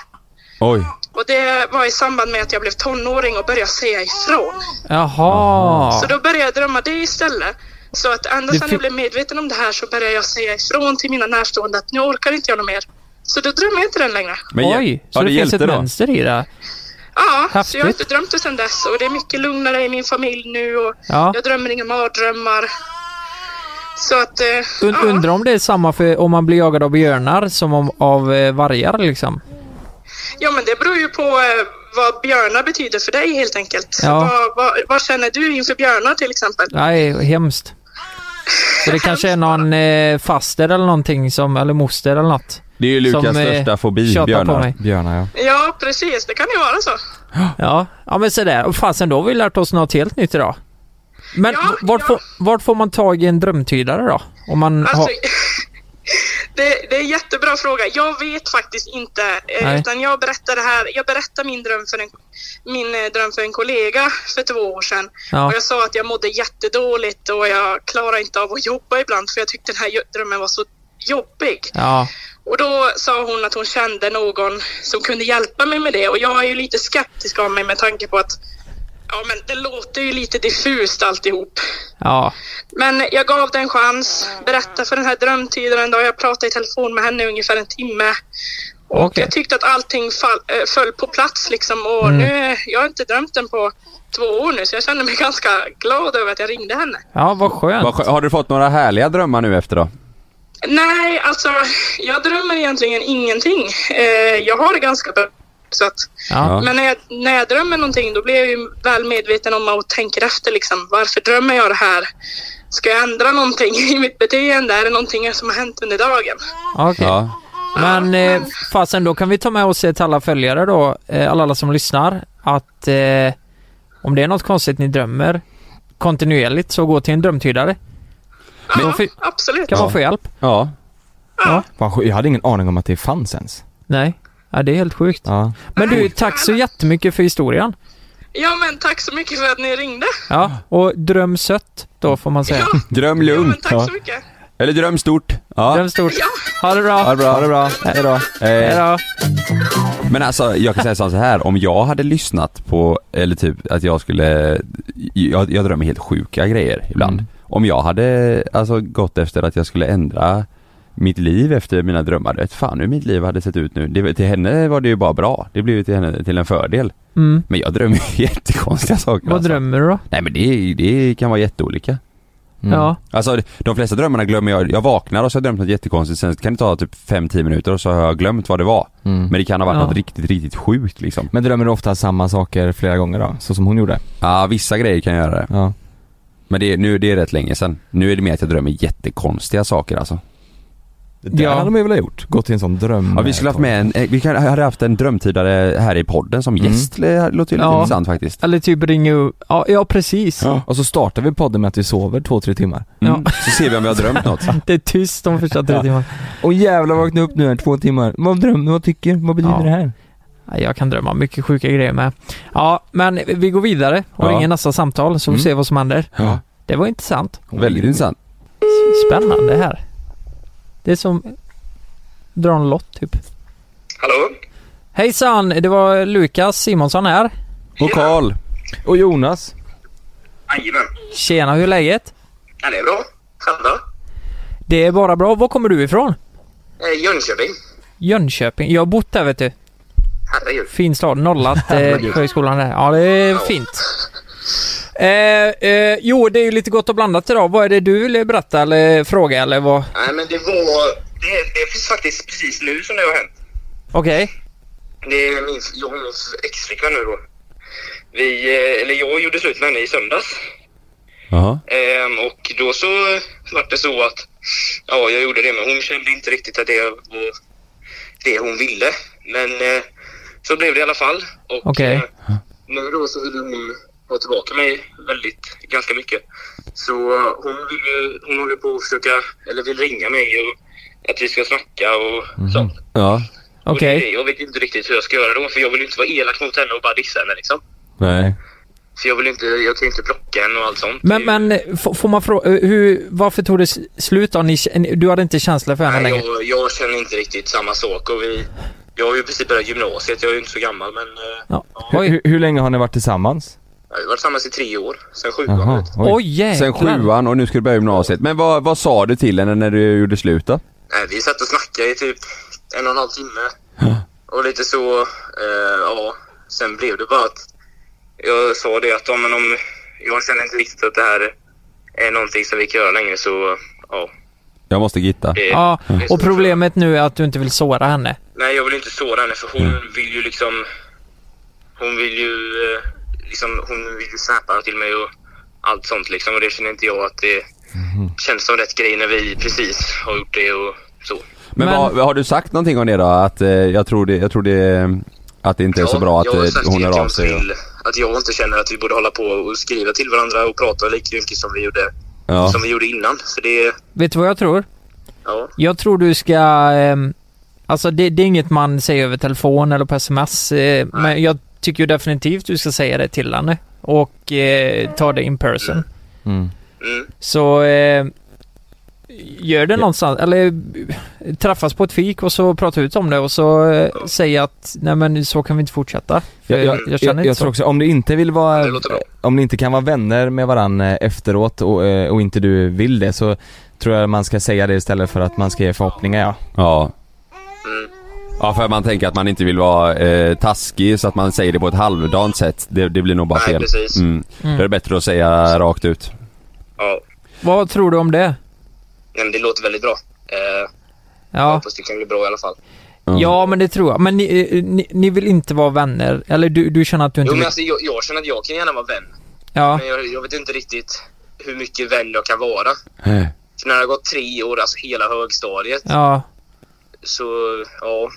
Speaker 2: Oj.
Speaker 5: Och det var i samband med att jag blev tonåring och började säga ifrån.
Speaker 4: Jaha.
Speaker 5: Så då började jag drömma det istället. Så att ända
Speaker 4: Det
Speaker 5: sedan
Speaker 4: fin-
Speaker 5: jag blev medveten om det här så började jag säga ifrån till mina närstående att nu orkar inte jag något mer. Så då drömmer jag inte den längre.
Speaker 2: ja-
Speaker 4: Oj, så
Speaker 2: ja,
Speaker 4: det, finns
Speaker 2: hjälpte
Speaker 4: ett mönster i det.
Speaker 5: Ja, så jag har
Speaker 4: Häftigt.
Speaker 5: inte drömt det sedan dess och det är mycket lugnare i min familj nu och
Speaker 4: Ja.
Speaker 5: jag drömmer inga mardrömmar. Så att... eh,
Speaker 4: Und,
Speaker 5: ja.
Speaker 4: Undrar om det är samma för om man blir jagad av björnar som om, av eh, vargar liksom.
Speaker 5: Ja, men det beror ju på eh, vad björnar betyder för dig helt enkelt.
Speaker 4: Ja.
Speaker 5: Vad, vad, vad känner du inför björnar till exempel?
Speaker 4: Nej, hemskt. Så det kanske är någon eh, faster eller någonting som, eller moster eller något.
Speaker 2: Det är ju Lukas
Speaker 4: Som, eh,
Speaker 2: största fobi,
Speaker 4: tjatar på
Speaker 2: björnar.
Speaker 4: mig.
Speaker 3: Björnar ja.
Speaker 5: Ja, precis. Det kan ju vara så.
Speaker 4: Ja, ja men sådär. Och fasen, då har vi lärt oss något helt nytt idag. Men
Speaker 5: Ja,
Speaker 4: vart,
Speaker 5: ja.
Speaker 4: Får, vart får man tag i en drömtydare då? Om man
Speaker 5: Alltså,
Speaker 4: har...
Speaker 5: Det, det är en jättebra fråga. Jag vet faktiskt inte. eh,
Speaker 4: Nej.
Speaker 5: Utan jag berättar det här. Jag berättade min dröm för en, min eh, dröm för en kollega för två år sedan.
Speaker 4: Ja,
Speaker 5: Och jag sa att jag mådde jättedåligt och jag klarar inte av att jobba ibland för jag tyckte den här jo- drömmen var så jobbig.
Speaker 4: ja,
Speaker 5: Och då sa hon att hon kände någon som kunde hjälpa mig med det och jag är ju lite skeptisk av mig med tanke på att ja, men det låter ju lite diffust alltihop.
Speaker 4: ja,
Speaker 5: Men jag gav det en chans, berättade för den här drömtydaren då. Jag pratade i telefon med henne i ungefär en timme. Och
Speaker 4: Okej.
Speaker 5: jag tyckte att allting fall, eh, föll på plats liksom. Och nu, jag har inte drömt den på två år nu så jag känner mig ganska glad över att jag ringde henne.
Speaker 4: ja, vad
Speaker 2: Vad
Speaker 4: skönt.
Speaker 2: skö- Har du fått några härliga drömmar nu efter då?
Speaker 5: Nej, alltså jag drömmer egentligen ingenting. Eh, jag har det ganska bra. Så att,
Speaker 4: Ja,
Speaker 5: Men när jag, när jag drömmer någonting då blir jag ju väl medveten om och tänker efter liksom. Varför drömmer jag det här? Ska jag ändra någonting i mitt beteende? Är det någonting som har hänt under dagen?
Speaker 4: okej.
Speaker 2: Ja.
Speaker 4: Men eh, fasen, då kan vi ta med oss eh, till alla följare då, eh, alla, alla som lyssnar, att eh, om det är något konstigt ni drömmer kontinuerligt så gå till en drömtydare.
Speaker 5: ja,
Speaker 4: Då fi-
Speaker 5: absolut.
Speaker 4: kan man få hjälp.
Speaker 2: Ja.
Speaker 3: Fan, sj- jag hade ingen aning om att det fanns ens.
Speaker 4: Nej, ja, det är helt sjukt.
Speaker 3: Ja.
Speaker 4: Men du, tack så jättemycket för historien.
Speaker 5: Ja, men tack så mycket för att ni ringde.
Speaker 4: Ja, och dröm sött då får man säga.
Speaker 5: Ja,
Speaker 2: Dröm
Speaker 5: ja men
Speaker 2: lugnt.
Speaker 5: tack så mycket.
Speaker 2: Eller dröm stort. Ja.
Speaker 4: Dröm stort.
Speaker 5: Ja.
Speaker 4: Ha det
Speaker 2: Ha det
Speaker 4: bra.
Speaker 2: bra. Ha det bra. Hej då.
Speaker 4: Hej
Speaker 2: Eh,
Speaker 4: då.
Speaker 2: Men alltså, jag kan säga så här. Om jag hade lyssnat på, eller typ att jag skulle, jag, jag drömmer helt sjuka grejer ibland.
Speaker 3: Mm.
Speaker 2: Om jag hade alltså gått efter att jag skulle ändra mitt liv efter mina drömmar, vet fan hur mitt liv hade sett ut nu. Det, till henne var det ju bara bra. Det blev ju till henne till en fördel.
Speaker 4: Mm.
Speaker 2: Men jag drömmer ju jättekonstiga saker.
Speaker 4: Vad
Speaker 2: alltså.
Speaker 4: drömmer du då?
Speaker 2: Nej men det, det kan vara jätteolika.
Speaker 3: Mm.
Speaker 4: Ja.
Speaker 2: Alltså de flesta drömmarna glömmer jag. Jag vaknar och så har jag drömt något jättekonstigt. Sen kan det ta typ 5-10 minuter och så har jag glömt vad det var.
Speaker 3: Mm.
Speaker 2: Men det kan ha varit
Speaker 4: Ja.
Speaker 2: något riktigt, riktigt sjukt liksom.
Speaker 3: Men drömmer du ofta samma saker flera gånger då? Så som hon gjorde?
Speaker 2: Ja, vissa grejer kan jag göra det.
Speaker 3: Ja.
Speaker 2: Men det, är- nu det är rätt länge sedan. Nu är det mer att jag drömmer jättekonstiga saker alltså.
Speaker 3: Det där
Speaker 4: Ja.
Speaker 3: hade man ju velat gjort. Gått till en sån dröm.
Speaker 2: Ja, vi skulle haft med en, eh, vi kan, hade haft en drömtydare här i podden som
Speaker 3: Mm.
Speaker 2: gäst. Det låter ju lite
Speaker 4: Ja.
Speaker 2: intressant faktiskt.
Speaker 4: Eller typ ringa upp. Ja, ja precis.
Speaker 3: Och så startar vi podden med att vi sover två, tre timmar.
Speaker 2: Mm. Så ser vi om vi har drömt något.
Speaker 4: Det är tyst de första tre
Speaker 3: Ja.
Speaker 4: timmarna.
Speaker 3: Och jävlar vakna upp nu här två timmar. Vad drömde Vad tycker Vad betyder
Speaker 2: Ja.
Speaker 3: det här?
Speaker 4: Nej, Jag kan drömma mycket sjuka grejer med. Ja, men vi går vidare och
Speaker 2: Ja.
Speaker 4: ringer nästa samtal så vi
Speaker 2: Mm.
Speaker 4: ser vad som händer.
Speaker 2: Ja.
Speaker 4: Det var intressant.
Speaker 2: Väldigt intressant.
Speaker 4: Spännande här. Det är som dra en lott typ.
Speaker 6: Hallå?
Speaker 4: Hejsan, det var Lukas Simonsson här.
Speaker 2: Och Karl.
Speaker 3: Och Jonas?
Speaker 6: Jajamän.
Speaker 4: Tjena, hur är läget?
Speaker 6: Ja, det är bra. Själv då?
Speaker 4: Det är bara bra. Var kommer du ifrån?
Speaker 6: Eh, Jönköping.
Speaker 4: Jönköping. Jag har bott där vet du.
Speaker 6: Herregud.
Speaker 4: Fin stad. Nollat eh, högskolan där. Ja, det är fint. Eh, eh, jo, det är ju lite gott och blandat idag. Vad är det du vill berätta eller fråga eller vad?
Speaker 6: Nej, men det var... Det, det är faktiskt precis nu som det har hänt.
Speaker 4: Okej.
Speaker 6: Det är min, jag och min exflickvän nu då. Vi, eh, eller jag gjorde slut med henne i söndags.
Speaker 2: Jaha.
Speaker 6: Ehm, och då så var det så att... Ja, jag gjorde det, men hon kände inte riktigt att det var det hon ville. Men eh, så blev det i alla fall. Och,
Speaker 4: Okej.
Speaker 6: eh, Nu då så vill hon ha tillbaka mig väldigt, ganska mycket. Så eh, hon vill ju, hon håller på att försöka, eller vill ringa mig och att vi ska snacka och sånt.
Speaker 2: Ja.
Speaker 6: Och
Speaker 4: Mhm. Okej.
Speaker 6: det- Jag vet inte riktigt hur jag ska göra då, för jag vill ju inte vara elak mot henne och bara dissa henne liksom.
Speaker 2: Nej.
Speaker 6: För jag vill ju inte, jag kan ju inte blocka henne och allt sånt.
Speaker 4: Men,
Speaker 6: Det är ju-
Speaker 4: men eh, f- får man fråga, eh, hur, varför tog det s- slut då? Ni, k- ni- du hade inte känsla för henne
Speaker 6: Nej,
Speaker 4: längre?
Speaker 6: jag, jag känner inte riktigt samma sak och vi... Jag har ju i princip börjat gymnasiet, jag är ju inte så gammal men... eh,
Speaker 4: Ja.
Speaker 3: Hur,
Speaker 4: Oj,
Speaker 3: hur- hur länge har ni varit tillsammans?
Speaker 6: Jag har ju varit tillsammans i tre år, sen sjuan.
Speaker 3: Jaha.
Speaker 6: vet du.
Speaker 3: Oj.
Speaker 4: oj jäklar.
Speaker 2: Sen sjuan och nu ska du börja gymnasiet. Men vad, vad sa du till henne när du gjorde slut då?
Speaker 6: Nej, vi satt och snackade i typ en och en halv timme. Och lite så, eh, ja. Sen blev det bara att jag sa det att ja, men om jag känner inte riktigt att det här är någonting som vi kan göra längre så, ja.
Speaker 2: Jag måste gitta.
Speaker 6: Det,
Speaker 4: Ja,
Speaker 6: det är så.
Speaker 4: och problemet nu är att du inte vill såra henne.
Speaker 6: Nej, jag vill inte såra henne för
Speaker 2: Mm.
Speaker 6: hon vill ju liksom... Hon vill ju eh, liksom, hon vill ju snappa till mig och allt sånt liksom. Och det känner inte jag att det
Speaker 2: Mhm.
Speaker 6: känns som rätt grej när vi precis har gjort det och så.
Speaker 2: Men,
Speaker 4: Men-
Speaker 2: vad, har du sagt någonting om det då? Att eh, jag tror det, jag tror det, eh, att det inte är så bra att
Speaker 6: jag har
Speaker 2: eh,
Speaker 6: sagt
Speaker 2: hon
Speaker 6: det
Speaker 2: hör
Speaker 6: till
Speaker 2: av
Speaker 6: oss
Speaker 2: sig? och-
Speaker 6: Till, att jag inte känner att vi borde hålla på och skriva till varandra och prata lika mycket som vi gjorde,
Speaker 2: Ja.
Speaker 6: som vi gjorde innan. För det,
Speaker 4: Vet du vad jag tror?
Speaker 6: Ja.
Speaker 4: Jag tror du ska, ehm, alltså det, det är inget man säger över telefon eller på sms, eh, men jag tycker ju definitivt du ska säga det till henne och eh, ta det in person.
Speaker 3: Mm.
Speaker 6: Mm.
Speaker 4: Så eh, gör det någonstans, eller eh, träffas på ett fik och så prata ut om det och så eh, säga att nej men så kan vi inte fortsätta.
Speaker 3: Jag, jag,
Speaker 4: jag
Speaker 3: jag,
Speaker 4: känner
Speaker 3: jag,
Speaker 4: inte så.
Speaker 3: tror också, om du inte vill vara,
Speaker 6: Det låter bra.
Speaker 3: om ni inte kan vara vänner med varandra efteråt och, eh, och inte du vill det så tror jag man ska säga det istället för att man ska ge förhoppningar ja.
Speaker 2: Ja.
Speaker 6: Mm.
Speaker 2: Ja för man tänker att man inte vill vara eh, taskig så att man säger det på ett halvdant sätt. Det, det blir nog bara
Speaker 6: Nej,
Speaker 2: fel.
Speaker 6: precis.
Speaker 2: Mm.
Speaker 4: Mm.
Speaker 2: Då är det bättre att säga rakt ut.
Speaker 6: Ja.
Speaker 4: Vad tror du om det?
Speaker 6: Nej, men det låter väldigt bra. Eh, Jag
Speaker 4: Ja,
Speaker 6: hoppas det kan bli bra i alla fall.
Speaker 2: Mm.
Speaker 4: ja men det tror jag. Men ni, eh, ni, ni vill inte vara vänner? Eller du, du känner att du inte
Speaker 6: Jo, men
Speaker 4: vill?
Speaker 6: alltså, jag, jag känner att jag kan gärna vara vän.
Speaker 4: Ja,
Speaker 6: Men jag, jag vet inte riktigt hur mycket vän jag kan vara.
Speaker 4: Eh.
Speaker 6: För när det har gått tre år, alltså hela högstadiet,
Speaker 4: ja,
Speaker 6: så ja,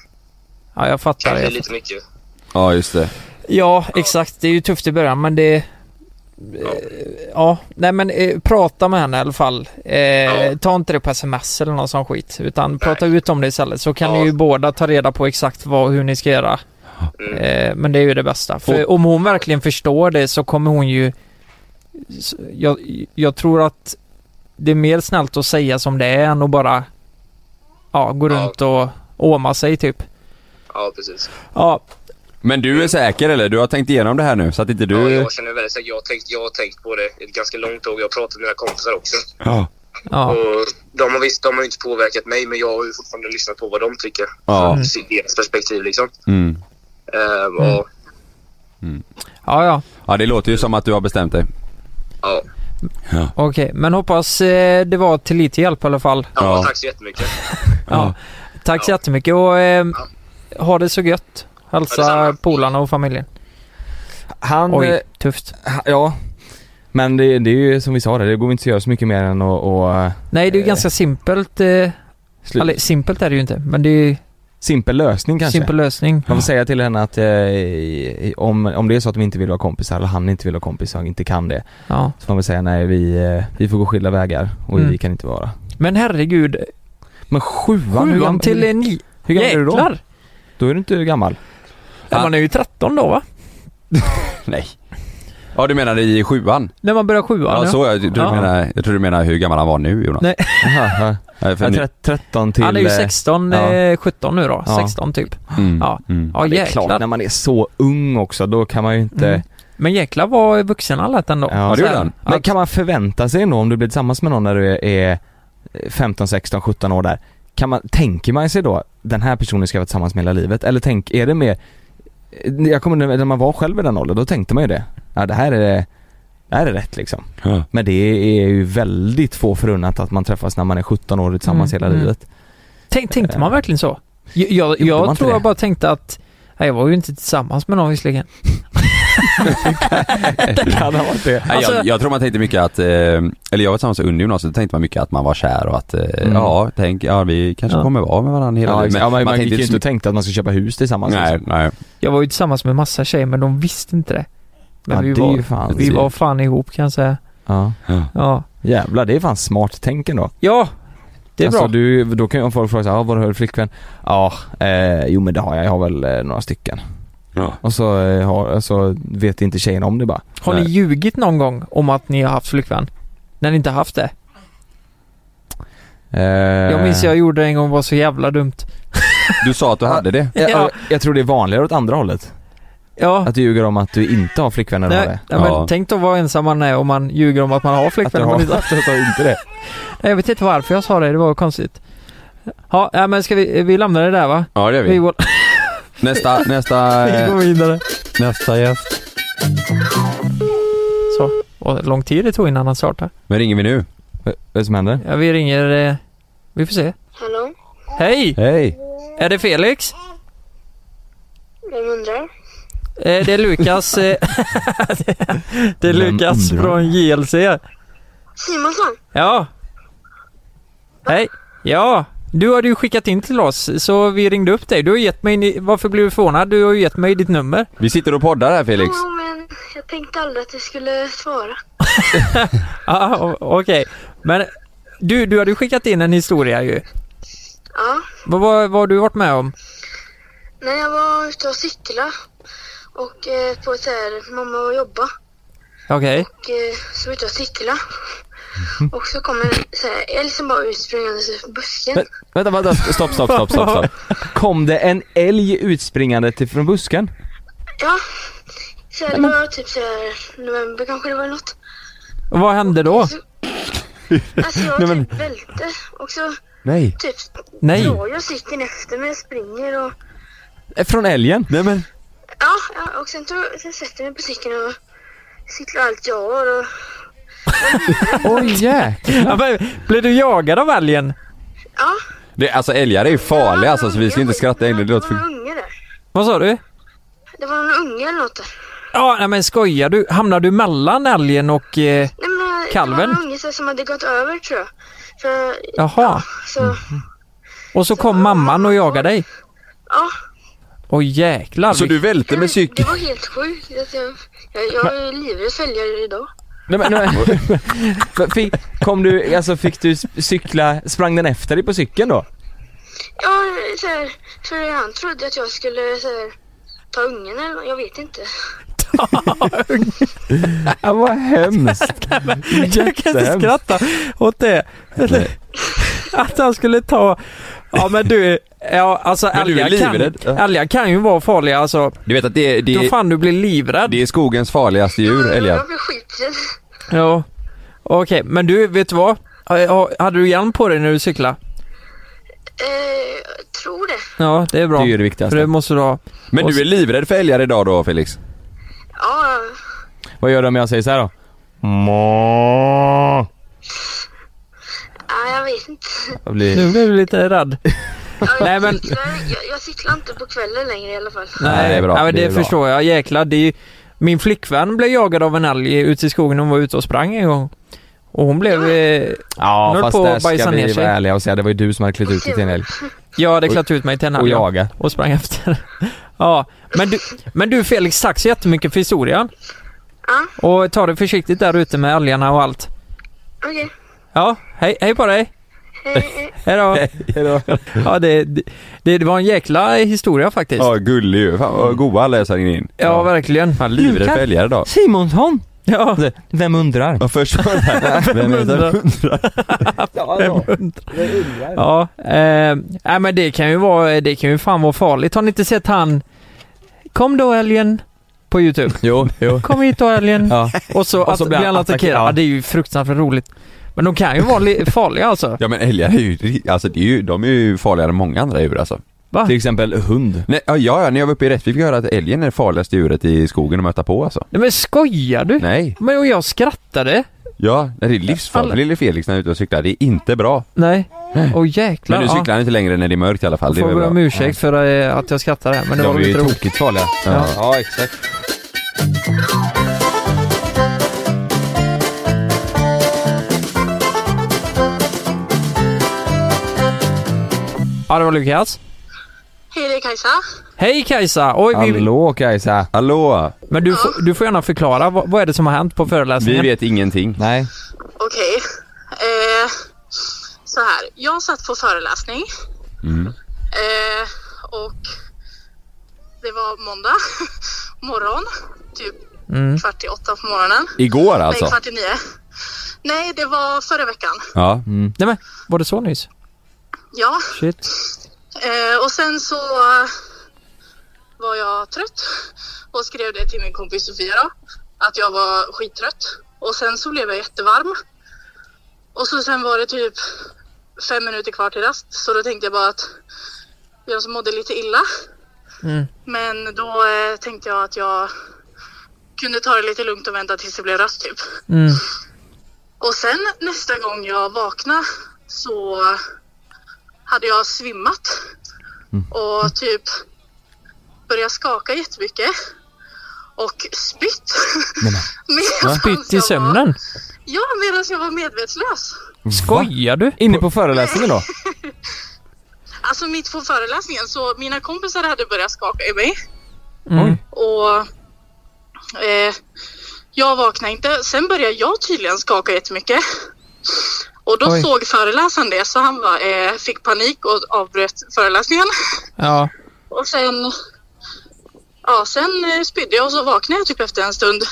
Speaker 4: ja jag fattar.
Speaker 6: kanske
Speaker 4: Jag
Speaker 6: lite mycket.
Speaker 2: Ja just det.
Speaker 4: Ja, exakt. Det är ju tufft i början men det... Ja, ja. nej men eh, prata med henne i alla fall. Eh,
Speaker 6: Ja.
Speaker 4: Ta inte det på sms eller någon sån skit. Utan prata ut om det istället så kan
Speaker 6: Ja.
Speaker 4: ni ju båda ta reda på exakt vad, hur ni ska göra.
Speaker 6: Mm.
Speaker 4: Eh, men det är ju det bästa. För om hon verkligen förstår det så kommer hon ju... s- Jag, jag tror att det är mer snällt att säga som det är än att bara ja, gå
Speaker 6: Ja.
Speaker 4: runt och åma sig typ.
Speaker 6: Ja, precis.
Speaker 4: Ja,
Speaker 2: Men du är säker eller? Du har tänkt igenom det här nu så att inte
Speaker 6: Mm. Ja,
Speaker 2: du...
Speaker 6: jag känner väldigt säkert. Jag har tänkt, jag har tänkt på det ett ganska långt tag. Jag har pratat med mina kompisar också.
Speaker 2: Ja.
Speaker 4: ja.
Speaker 6: Och de har visst, de har ju inte påverkat mig, men jag har ju fortfarande lyssnat på vad de tycker.
Speaker 2: Ja.
Speaker 6: Från sitt- deras perspektiv liksom.
Speaker 2: Mm.
Speaker 6: Eh, och,
Speaker 4: Mm. ja, ja.
Speaker 2: ja det låter ju som att du har bestämt dig.
Speaker 6: ja.
Speaker 4: Okej, men hoppas eh, det var till lite hjälp i alla fall.
Speaker 6: Ja,
Speaker 2: Ja.
Speaker 6: tack så jättemycket.
Speaker 4: Ja. Tack så
Speaker 6: Ja.
Speaker 4: jättemycket och eh, ha det så gött.
Speaker 6: Ja,
Speaker 4: Hälsa
Speaker 6: detsamma.
Speaker 4: polarna och familjen.
Speaker 3: Han, eh,
Speaker 4: Oj, tufft.
Speaker 3: ha- ja. Men det, det är ju som vi sa det, det går inte att göra så mycket mer än att och,
Speaker 4: Nej, det är ju
Speaker 3: eh,
Speaker 4: ganska simpelt. Eh,
Speaker 3: slu-
Speaker 4: eller simpelt är det ju inte, men det är ju
Speaker 3: simpel lösning kanske.
Speaker 4: simpel lösning.
Speaker 3: Man får säga till henne att eh, i- om, om det är så att de inte vill vara kompisar eller han inte vill vara kompisar och inte kan det
Speaker 4: Ja.
Speaker 3: så får man säga nej vi, eh, vi får gå skilda vägar och
Speaker 4: Mm.
Speaker 3: vi kan inte vara.
Speaker 4: Men herregud,
Speaker 3: Men sjuan, hur
Speaker 4: sjuan
Speaker 3: gam-
Speaker 4: till eh, ni...
Speaker 3: hur gammal är du då?
Speaker 4: Jäklar!
Speaker 3: Då är du inte gammal.
Speaker 4: Ja, man är ju 13 då va?
Speaker 2: Nej. Ja du menar i sjuan?
Speaker 4: När man börjar sjuan
Speaker 2: Ja, så jag, tror
Speaker 4: Ja.
Speaker 2: Du menar, jag tror du menar hur gammal han var nu Jonas.
Speaker 4: Nej.
Speaker 3: Jaha,
Speaker 2: Nej, för
Speaker 3: ja.
Speaker 2: nu-
Speaker 3: Ja, 13 till...
Speaker 4: Han är ju
Speaker 3: eh,
Speaker 4: 16,
Speaker 3: ja.
Speaker 4: eh, 17 nu då.
Speaker 3: Ja.
Speaker 4: 16 typ.
Speaker 2: Mm.
Speaker 4: Ja.
Speaker 2: Mm.
Speaker 4: Ja,
Speaker 3: det är klart,
Speaker 4: jäklar.
Speaker 3: när man är så ung också då kan man ju inte...
Speaker 4: Mm. Men jäklar vad vuxen han lät ändå.
Speaker 3: Ja,
Speaker 2: det gjorde
Speaker 4: Så här,
Speaker 2: han.
Speaker 3: Men
Speaker 4: att-
Speaker 3: kan man förvänta sig ändå om du blir tillsammans med någon när du är- är eh, 15, 16, 17 år där kan man, Tänker man sig då den här personen ska jag vara tillsammans med hela livet? Eller tänk, är det mer eh, Jag kommer ihåg när man var själv i den åldern, då tänkte man ju det Ja det här är det här är rätt liksom.
Speaker 2: Ja.
Speaker 3: Men det är ju väldigt få förunnat att man träffas när man är 17 år tillsammans
Speaker 4: Mm,
Speaker 3: hela
Speaker 4: mm.
Speaker 3: livet.
Speaker 4: Tänk, tänkte man verkligen så? Jag, jag,
Speaker 3: Eh. Gjorde man
Speaker 4: jag
Speaker 3: inte
Speaker 4: tror jag
Speaker 3: det?
Speaker 4: bara tänkte att Nej, jag var ju inte tillsammans med någon visserligen.
Speaker 3: Det kan ha varit det.
Speaker 2: Nej,
Speaker 4: Alltså-
Speaker 2: jag, jag tror man tänkte mycket att, eh, eller jag var tillsammans under gymnasiet, då tänkte man mycket att man var kär och att, eh,
Speaker 3: Mm.
Speaker 2: ja tänk, ja vi kanske
Speaker 4: Ja.
Speaker 2: kommer vara med varandra hela
Speaker 3: Ja,
Speaker 2: livet.
Speaker 3: exakt.
Speaker 2: Men
Speaker 3: ja, man, man gick
Speaker 2: tänkte
Speaker 3: ju inte
Speaker 2: så
Speaker 3: och tänkte att man skulle köpa hus tillsammans.
Speaker 2: mycket- Nej,
Speaker 3: liksom.
Speaker 2: nej.
Speaker 4: Jag var ju tillsammans med massa tjejer men de visste inte det. Men
Speaker 3: ja,
Speaker 4: vi,
Speaker 3: det är ju
Speaker 4: var,
Speaker 3: fan,
Speaker 4: vi var fan ihop kan jag säga.
Speaker 3: ja.
Speaker 4: Ja,
Speaker 3: Jävlar, det är fan smart tänk ändå.
Speaker 4: ja det är
Speaker 3: alltså,
Speaker 4: bra.
Speaker 3: Du, då kan ju folk fråga såhär, ah, var har du flickvän? Ja, eh, jo men det har jag, jag har väl eh, några stycken.
Speaker 2: Ja.
Speaker 3: Och så, eh, har, så vet inte tjejen om det bara.
Speaker 4: Har ni ljugit någon gång om att ni har haft flickvän? När ni inte haft det?
Speaker 3: Eh,
Speaker 4: Jag minns jag gjorde det en gång, var så jävla dumt.
Speaker 2: Du sa att du hade det?
Speaker 3: Jag,
Speaker 4: Ja.
Speaker 3: eh, jag, tror det är vanligare åt andra hållet.
Speaker 4: Ja,
Speaker 3: Att du ljuger om att du inte har flickvän eller
Speaker 4: nej,
Speaker 3: vad det
Speaker 4: nej,
Speaker 3: är.
Speaker 4: men
Speaker 2: Ja.
Speaker 4: tänk då vad ensam man är om man ljuger om att man har
Speaker 3: Att du
Speaker 4: flickvän.
Speaker 3: har,
Speaker 4: Har... Nej,
Speaker 3: att du har inte det.
Speaker 4: jag vet inte varför jag sa det, det var konstigt. Ja, nej, men ska vi, vi lämnar det där va?
Speaker 2: Ja det gör
Speaker 4: Vi
Speaker 2: vi.
Speaker 4: går,
Speaker 2: Nästa, nästa,
Speaker 4: vi
Speaker 2: eh,
Speaker 4: går vidare.
Speaker 2: nästa gäst.
Speaker 4: Så. Och lång tid det tog innan han startade.
Speaker 2: Men ringer vi nu?
Speaker 3: Vad är det som händer?
Speaker 4: Ja, vi ringer... Eh, vi får se.
Speaker 5: Hallå?
Speaker 4: Hej!
Speaker 2: Hej!
Speaker 4: Är det Felix?
Speaker 5: Vem undrar?
Speaker 4: Eh, det är Lukas... eh, det är
Speaker 3: Vem
Speaker 4: Lukas
Speaker 3: undrar?
Speaker 4: från JLC.
Speaker 5: Simonsson?
Speaker 4: Ja. Hej. Ja. Du hade ju skickat in till oss, så vi ringde upp dig. Du har gett mig... Varför blev du förvånad? Du har ju gett mig ditt nummer.
Speaker 2: Vi sitter och poddar här Felix.
Speaker 5: Ja, men jag tänkte aldrig att du skulle svara.
Speaker 4: Ah, o- Okej. Men du, du hade ju skickat in en historia ju.
Speaker 7: Ja.
Speaker 4: Vad, vad, vad har du varit med om?
Speaker 7: När jag var ute och cykla och eh, på ett så här, mamma var och jobba
Speaker 4: Okej.
Speaker 7: och eh, så var jag ute och cykla. Och så kom en så här, älg som bara utspringandes ur busken.
Speaker 3: Vä- Vänta, vänta, stopp, stopp, stopp, stopp, stopp. Kom det en älg utspringande till, från busken?
Speaker 7: Ja. Så här, det var typ så här, november kanske det var eller något.
Speaker 4: Och Vad hände då?
Speaker 7: Så, alltså jag
Speaker 2: Nej, men-
Speaker 7: typ välte och så
Speaker 2: Nej.
Speaker 7: typ
Speaker 4: Nej.
Speaker 7: drar jag cykeln efter mig, jag springer och
Speaker 3: Eh, Från älgen?
Speaker 2: Nej men.
Speaker 7: ja, ja och sen, tog, sen sätter jag mig på cykeln och cyklar allt jag har och
Speaker 3: Oj jäklar.
Speaker 4: Ja, men, blev du jagad av älgen?
Speaker 7: ja.
Speaker 2: Det, alltså älgar är ju farliga alltså så vi ska inte skratta
Speaker 7: längre.
Speaker 2: längre. Det låter
Speaker 7: Det var
Speaker 2: för...
Speaker 7: någon unge där.
Speaker 4: Vad sa du?
Speaker 7: Det var någon unge eller något där.
Speaker 4: Ja, nej men skojar du? Hamnar du mellan älgen och... Eh,
Speaker 7: Nej, men, eh, Det
Speaker 4: Kalven?
Speaker 7: var någon unge så- som hade gått över tror jag. För,
Speaker 4: jaha.
Speaker 7: så,
Speaker 4: Och så kom mamman och jagade dig?
Speaker 7: ja.
Speaker 4: Åh jäklar.
Speaker 2: Så du välte med
Speaker 7: Det
Speaker 2: cykeln?
Speaker 7: var helt sjukt. Alltså, Jag, jag, jag är livrädd för älgar idag.
Speaker 3: Nej, men, nej, men, fick, kom du, alltså fick du s- cykla, sprang den efter dig på cykeln då?
Speaker 7: Ja, så här, för han trodde att jag skulle så här, ta ungen eller nå- jag vet inte.
Speaker 3: Ja, vad hemskt.
Speaker 4: Jag kan inte
Speaker 3: Jättehemskt.
Speaker 4: skratta åt det. Att han skulle ta... Ja men du, ja, alltså
Speaker 2: Men du är
Speaker 4: älgar kan,
Speaker 2: livrädd. Ja.
Speaker 4: älgar kan ju vara farliga alltså.
Speaker 2: Du vet att det är, det
Speaker 4: Då
Speaker 2: är,
Speaker 4: fan du blir livrädd.
Speaker 2: det är skogens farligaste djur, älgar.
Speaker 7: Jag blev skiträdd.
Speaker 4: Ja. Okej, men du, vet du vad? Ha- ha- Hade du hjälm på dig när du cyklade?
Speaker 7: Eh, jag tror det.
Speaker 4: Ja, det är bra.
Speaker 3: Det är ju det
Speaker 4: För det
Speaker 3: viktigaste.
Speaker 4: måste du ha.
Speaker 2: Men du är livrädd för älgar idag då Felix?
Speaker 7: Ja,
Speaker 3: Vad gör du om jag säger så här då? Må.
Speaker 7: ja jag vet inte.
Speaker 3: Jag blir...
Speaker 4: Nu blev du lite rädd.
Speaker 7: Ja, jag,
Speaker 4: Nej, men-
Speaker 7: cyklar, jag, jag cyklar inte på kvällen längre i alla fall.
Speaker 2: Nej, det är bra.
Speaker 4: Ja, men det,
Speaker 3: Det är bra.
Speaker 4: förstår jag. Jäklar, det är ju... Min flickvän blev jagad av en älg ute i skogen. Hon var ute och sprang en gång. Och hon blev... Eh,
Speaker 3: Ja
Speaker 4: Nu höll
Speaker 3: fast
Speaker 4: på
Speaker 3: där
Speaker 4: att bajsa
Speaker 3: ska
Speaker 4: ner
Speaker 3: vi
Speaker 4: sig.
Speaker 3: vara ärliga och säga det var ju du som hade klätt ut dig till en älg.
Speaker 4: jag hade klätt ut mig till en älg.
Speaker 3: Och
Speaker 4: ja.
Speaker 3: jaga.
Speaker 4: och sprang efter. Ja, men du, men du Felix, tack så jättemycket för historien.
Speaker 7: Ja.
Speaker 4: Och ta det försiktigt där ute med älgarna och allt.
Speaker 7: Okej,
Speaker 4: Ja, hej, hej på dig.
Speaker 7: hej, hej.
Speaker 4: Hej då. Ja, det, det, det var en jäkla historia faktiskt.
Speaker 2: Ja gullig ju. Fan vad goda alla är så här in.
Speaker 4: Ja, verkligen.
Speaker 2: Han är livrädd för älgar idag.
Speaker 3: Simonsson!
Speaker 4: Ja,
Speaker 3: Vem undrar?
Speaker 2: Ja först var det här. Vem är det?
Speaker 4: ja. Eh, nej, men det kan ju vara, det kan ju fan vara farligt. Har ni inte sett han Kom då älgen på Youtube.
Speaker 3: Jo, jo.
Speaker 4: Kom hit då älgen.
Speaker 3: Ja.
Speaker 4: Och så,
Speaker 3: Och så
Speaker 4: att,
Speaker 3: blir
Speaker 4: blir
Speaker 3: han
Speaker 4: han attackerad.
Speaker 3: attackerad.
Speaker 4: Ja, det är ju fruktansvärt roligt. Men de kan ju vara li- farliga alltså.
Speaker 2: Ja men älgar är ju, ri- alltså det är ju, de är ju farligare än många andra djur alltså.
Speaker 4: Va?
Speaker 3: Till exempel hund.
Speaker 2: Nej, ja, ja, när jag var uppe i Rättvik fick jag höra att älgen är det farligaste djuret i skogen att möta på alltså.
Speaker 4: Nej men skojar du?
Speaker 2: Nej,
Speaker 4: Men och jag skrattade.
Speaker 2: ja, det är livsfarligt
Speaker 4: Alla-
Speaker 2: för lille Felix när han är ute och cyklar, det är inte bra.
Speaker 4: Nej. Åh jäklar.
Speaker 2: Men nu cyklar han inte längre när det är mörkt i alla fall,
Speaker 4: ja.
Speaker 2: det är väl
Speaker 4: Får be om
Speaker 2: bra.
Speaker 4: ursäkt för eh, att jag skrattade här, men det var
Speaker 3: De är
Speaker 4: väl
Speaker 3: ju
Speaker 4: inte roligt.
Speaker 3: tokigt farliga.
Speaker 2: Ja.
Speaker 3: ja exakt.
Speaker 4: Ja, det var Lukas.
Speaker 7: Hej, det är Kajsa.
Speaker 4: Hej Kajsa! Oj, vi,
Speaker 3: Hallå Kajsa.
Speaker 2: Hallå!
Speaker 4: men du, får- du får gärna förklara, vad, vad är det som har hänt på
Speaker 2: Vi
Speaker 4: föreläsningen?
Speaker 2: vet ingenting.
Speaker 3: Nej.
Speaker 7: Okej. Eh, så här, jag satt på föreläsning. Eh, och det var måndag morgon, typ
Speaker 4: Mm.
Speaker 7: kvart i åtta på morgonen.
Speaker 2: Igår alltså?
Speaker 7: Nej, kvart i nio. Nej, det var förra veckan.
Speaker 2: Ja.
Speaker 4: Nej men, var det så nyss?
Speaker 7: Ja,
Speaker 4: Shit.
Speaker 7: eh, och sen så var jag trött och skrev det till min kompis Sofia då, att jag var skittrött. Och sen så blev jag jättevarm. Och så sen var det typ fem minuter kvar till rast, så då tänkte jag bara att jag som mådde lite illa.
Speaker 4: Mm.
Speaker 7: Men då eh, tänkte jag att jag kunde ta det lite lugnt och vänta tills det blev rast typ.
Speaker 4: Mm.
Speaker 7: Och sen nästa gång jag vaknade så hade jag svimmat
Speaker 4: Mm.
Speaker 7: och typ börjat skaka jättemycket och spytt. Medans
Speaker 4: Spytt i
Speaker 7: jag Var,
Speaker 4: sömnen?
Speaker 7: ja, medan jag var medvetslös.
Speaker 4: Skojar du?
Speaker 3: Inne på föreläsningen då?
Speaker 7: Alltså mitt på föreläsningen så mina kompisar hade börjat skaka i mig
Speaker 4: Mm.
Speaker 7: och eh, jag vaknade inte. Sen började jag tydligen skaka jättemycket
Speaker 5: Och då
Speaker 4: Oj.
Speaker 5: såg föreläsaren det så han bara, eh, fick panik och avbröt föreläsningen.
Speaker 4: Ja.
Speaker 5: Och sen, ja, sen eh, spydde jag och så vaknade jag typ efter en stund.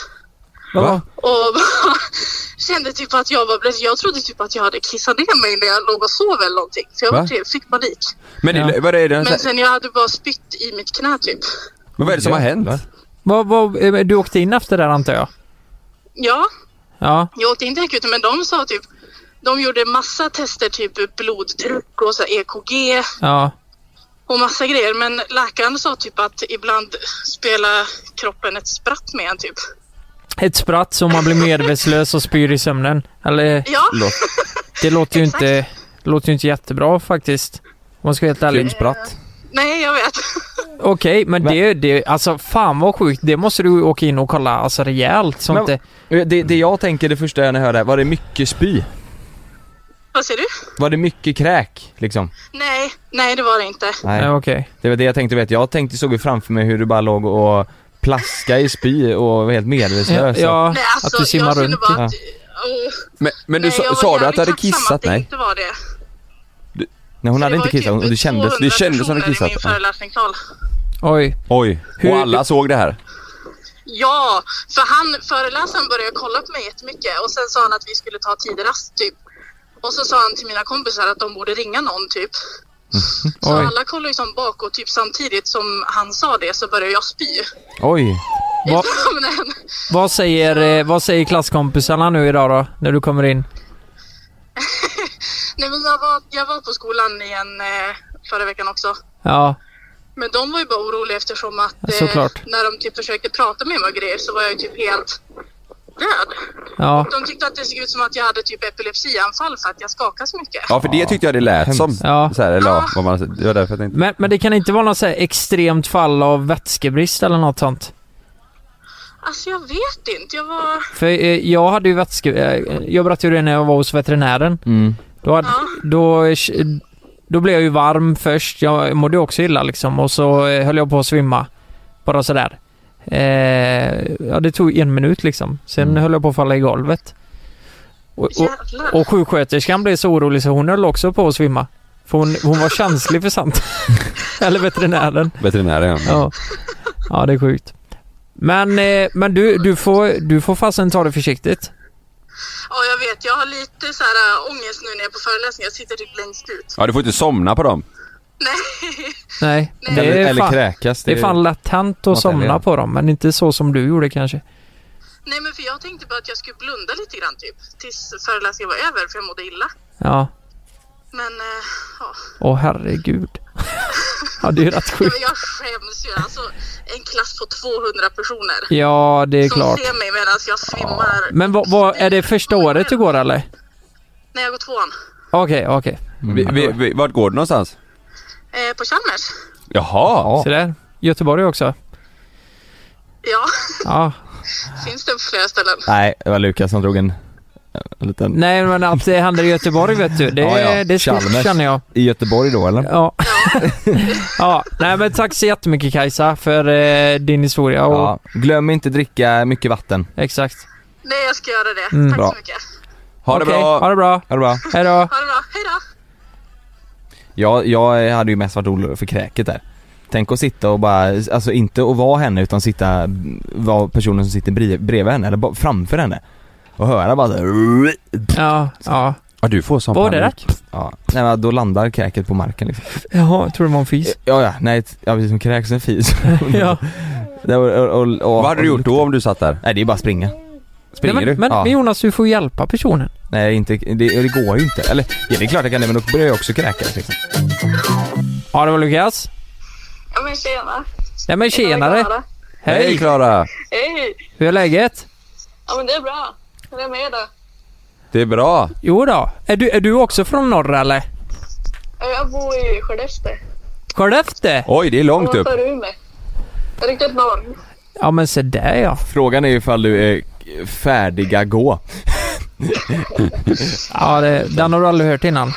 Speaker 2: Va?
Speaker 5: Och bara, kände typ att jag var blöt. Jag trodde typ att jag hade kissat ner mig när jag låg och sov eller någonting. För jag
Speaker 2: Va?
Speaker 5: var typ, fick panik.
Speaker 2: Men det, vad, är det,
Speaker 5: Men sen jag hade bara spytt i mitt knä typ.
Speaker 2: men vad är det som har hänt?
Speaker 3: Va?
Speaker 4: Vad, vad, eh, du åkte in efter det där antar jag?
Speaker 5: Ja,
Speaker 4: Ja.
Speaker 5: jag åkte inte till akuten men de sa typ de gjorde massa tester, typ blodtryck och så här EKG
Speaker 4: Ja.
Speaker 5: och massa grejer. Men läkaren sa typ att ibland spelar kroppen ett spratt med en typ.
Speaker 4: Ett spratt så man blir medvetslös och spyr i sömnen. Eller
Speaker 5: Ja,
Speaker 2: Mm.
Speaker 4: det låter ju
Speaker 5: Exakt.
Speaker 4: inte, låter ju inte jättebra faktiskt. Om man ska vara helt ärlig.
Speaker 3: Krimspratt?
Speaker 5: nej jag vet.
Speaker 4: Okej, men det, det, alltså fan vad sjukt. Det måste du åka in och kolla alltså rejält. Så
Speaker 3: Men-
Speaker 4: inte,
Speaker 3: Det, det jag tänker det första när jag hör det här, var det mycket spy?
Speaker 5: Vad säger du?
Speaker 3: Var det mycket kräk liksom?
Speaker 5: Nej, nej det var det inte.
Speaker 3: Nej.
Speaker 4: nej okej.
Speaker 3: Det var det jag tänkte vet, jag tänkte såg ju framför mig hur du bara låg och plaska i spy och var helt medvetslös.
Speaker 4: Ja,
Speaker 5: Nej, alltså,
Speaker 4: att du simmar
Speaker 5: jag kände
Speaker 4: runt.
Speaker 5: Bara
Speaker 3: ja.
Speaker 5: att, oh,
Speaker 2: Men, men du
Speaker 5: nej,
Speaker 2: sa,
Speaker 5: jag var
Speaker 2: sa du att
Speaker 5: jävligt
Speaker 2: du hade
Speaker 5: tacksam
Speaker 2: kissat?
Speaker 5: Att det
Speaker 2: Nej.
Speaker 5: inte var det.
Speaker 3: Nej hon
Speaker 5: Så
Speaker 3: hade
Speaker 5: det
Speaker 3: inte
Speaker 5: var ju
Speaker 3: kissat, hon-
Speaker 5: typ
Speaker 3: det kändes.
Speaker 5: 200
Speaker 2: kändes som det
Speaker 5: personer
Speaker 2: kissat,
Speaker 5: i min
Speaker 2: ja.
Speaker 5: föreläsningssal.
Speaker 4: Oj.
Speaker 2: Oj,
Speaker 4: Hur-
Speaker 2: och alla såg det här?
Speaker 5: Ja, för han, föreläsaren började kolla på mig jättemycket och sen sa han att vi skulle ta tidrast typ. Och så sa han till mina kompisar att de borde ringa någon typ. Så
Speaker 4: Oj.
Speaker 5: alla kollade ju som bak och typ samtidigt som han sa det så började jag spy.
Speaker 3: Oj.
Speaker 4: Va,
Speaker 5: Men,
Speaker 4: vad, säger, eh, vad säger klasskompisarna nu idag då? När du kommer in?
Speaker 5: nej, men jag, var, jag var på skolan igen eh, förra veckan också.
Speaker 4: Ja.
Speaker 5: Men de var ju bara oroliga eftersom att eh,
Speaker 4: Såklart.
Speaker 5: när de typ försökte prata med mig och grejer så var jag ju typ helt död.
Speaker 4: Ja.
Speaker 5: De tyckte att det såg ut som att jag hade typ epilepsianfall för att jag skakade så mycket.
Speaker 2: Ja för det tyckte jag det lät
Speaker 3: Hemskt.
Speaker 2: som.
Speaker 4: Ja.
Speaker 2: Så här, eller ja, vad man, det var därför jag tänkte.
Speaker 4: Men, men det kan inte vara något så här extremt fall av vätskebrist eller något sånt?
Speaker 5: Alltså jag vet inte, jag var...
Speaker 4: För eh, jag hade ju vätske... Eh, jag berättade ju det när jag var hos veterinären.
Speaker 3: Mm.
Speaker 4: Då, hade,
Speaker 5: Ja.
Speaker 4: då, eh, då blev jag ju varm först. Jag mådde ju också illa liksom och så eh, höll jag på att svimma. Bara sådär. Eh, ja, det tog en minut liksom. Sen höll jag på att falla i golvet. Och, och,
Speaker 5: Jävlar.
Speaker 4: och sjuksköterskan blev så orolig så hon höll också på att svimma. För hon, hon var känslig för sånt. Eller veterinären.
Speaker 2: Veterinären ja.
Speaker 4: Ja. ja, det är sjukt. Men, eh, men du, du får, du får fasen ta det försiktigt.
Speaker 5: Ja, jag vet. Jag har lite så här äh, ångest nu när jag är på föreläsning. Jag sitter typ längst ut.
Speaker 2: ja. du får inte somna på dem.
Speaker 5: Nej.
Speaker 4: Nej,
Speaker 3: Eller,
Speaker 4: det är
Speaker 3: eller
Speaker 4: fan,
Speaker 3: kräkas.
Speaker 4: det är fan lätt hänt att
Speaker 3: Något händer,
Speaker 4: somna
Speaker 3: ja.
Speaker 4: på dem, men inte så som du gjorde kanske.
Speaker 5: Nej, men för jag tänkte bara att jag skulle blunda lite grann typ. Tills föreläsningen var över, för jag mådde illa.
Speaker 4: Ja,
Speaker 5: Men äh, ja,
Speaker 4: åh herregud. ja, det är ju rätt
Speaker 5: Ja,
Speaker 4: sjukt.
Speaker 5: men jag skäms ju. Alltså, en klass på 200 personer.
Speaker 4: Ja, det är
Speaker 5: som
Speaker 4: klart.
Speaker 5: ser mig medan jag svimmar.
Speaker 4: Men vad, vad, är det första året du går eller?
Speaker 5: När jag går tvåan.
Speaker 4: Okej, okej.
Speaker 3: Mm.
Speaker 2: Vi, vi, vi, vart går du någonstans?
Speaker 5: Eh, på Chalmers.
Speaker 2: Jaha!
Speaker 4: Så där. Göteborg också.
Speaker 5: Ja,
Speaker 4: Ja.
Speaker 5: finns det på flera ställen.
Speaker 3: Nej, det var Lukas som drog en, en liten...
Speaker 4: Nej, men att det händer i Göteborg vet du, det,
Speaker 3: Ja, ja.
Speaker 4: det är stort
Speaker 3: Chalmers.
Speaker 4: känner jag.
Speaker 3: I Göteborg då eller?
Speaker 4: Ja. ja, nej men tack så jättemycket Kajsa för eh, din historia och
Speaker 3: Ja. Glöm inte dricka mycket vatten.
Speaker 4: exakt.
Speaker 5: Nej, jag ska göra det.
Speaker 4: Mm.
Speaker 5: Tack
Speaker 3: Bra.
Speaker 5: så mycket.
Speaker 2: Ha det
Speaker 4: Okej,
Speaker 2: bra!
Speaker 4: Ha det bra.
Speaker 3: Ha det bra.
Speaker 4: Hej då.
Speaker 5: Ha det bra. Hej då.
Speaker 3: Jag, jag hade ju mest varit orolig för kräket där. Tänk att sitta och bara, alltså inte att vara henne utan sitta, vara personen som sitter brev, bredvid henne eller bara framför henne. Och höra bara så här,
Speaker 4: Ja, ja.
Speaker 2: Ja du får sån
Speaker 4: Vad var det där?
Speaker 3: ja. Nej men då landar kräket på marken liksom.
Speaker 4: Jaha, jag tror det var en fis.
Speaker 3: Ja ja, nej, t- ja precis som kräks en fis.
Speaker 2: Mm.
Speaker 4: Ja.
Speaker 3: Det var- och, och, och,
Speaker 2: Vad hade du gjort då om du satt där?
Speaker 3: Nej det är bara att springa.
Speaker 2: Springer
Speaker 4: nej, men,
Speaker 2: du?
Speaker 4: Men,
Speaker 3: Ja.
Speaker 4: men Jonas, du får hjälpa personen.
Speaker 3: Nej inte, det, det går ju inte. Eller ja, det är klart jag kan det men då börjar jag också kräkas liksom.
Speaker 4: Ja, det var Lukas.
Speaker 5: Ja, men tjena.
Speaker 4: Nej men tjenare.
Speaker 2: Hej
Speaker 4: Hej.
Speaker 2: Klara!
Speaker 5: Hej!
Speaker 4: Hur är läget?
Speaker 5: Ja men det är bra. Hur är det med dig?
Speaker 2: Det är bra!
Speaker 4: Jo då. Är du, är du också från norr eller?
Speaker 5: Jag bor i Skellefteå.
Speaker 4: Skellefteå?
Speaker 2: Oj det är långt upp!
Speaker 5: Ovanför Umeå. Riktigt norr.
Speaker 4: Ja men se där ja.
Speaker 3: Frågan är ju ifall du är färdiga gå.
Speaker 4: Ja, det, den har du aldrig hört innan.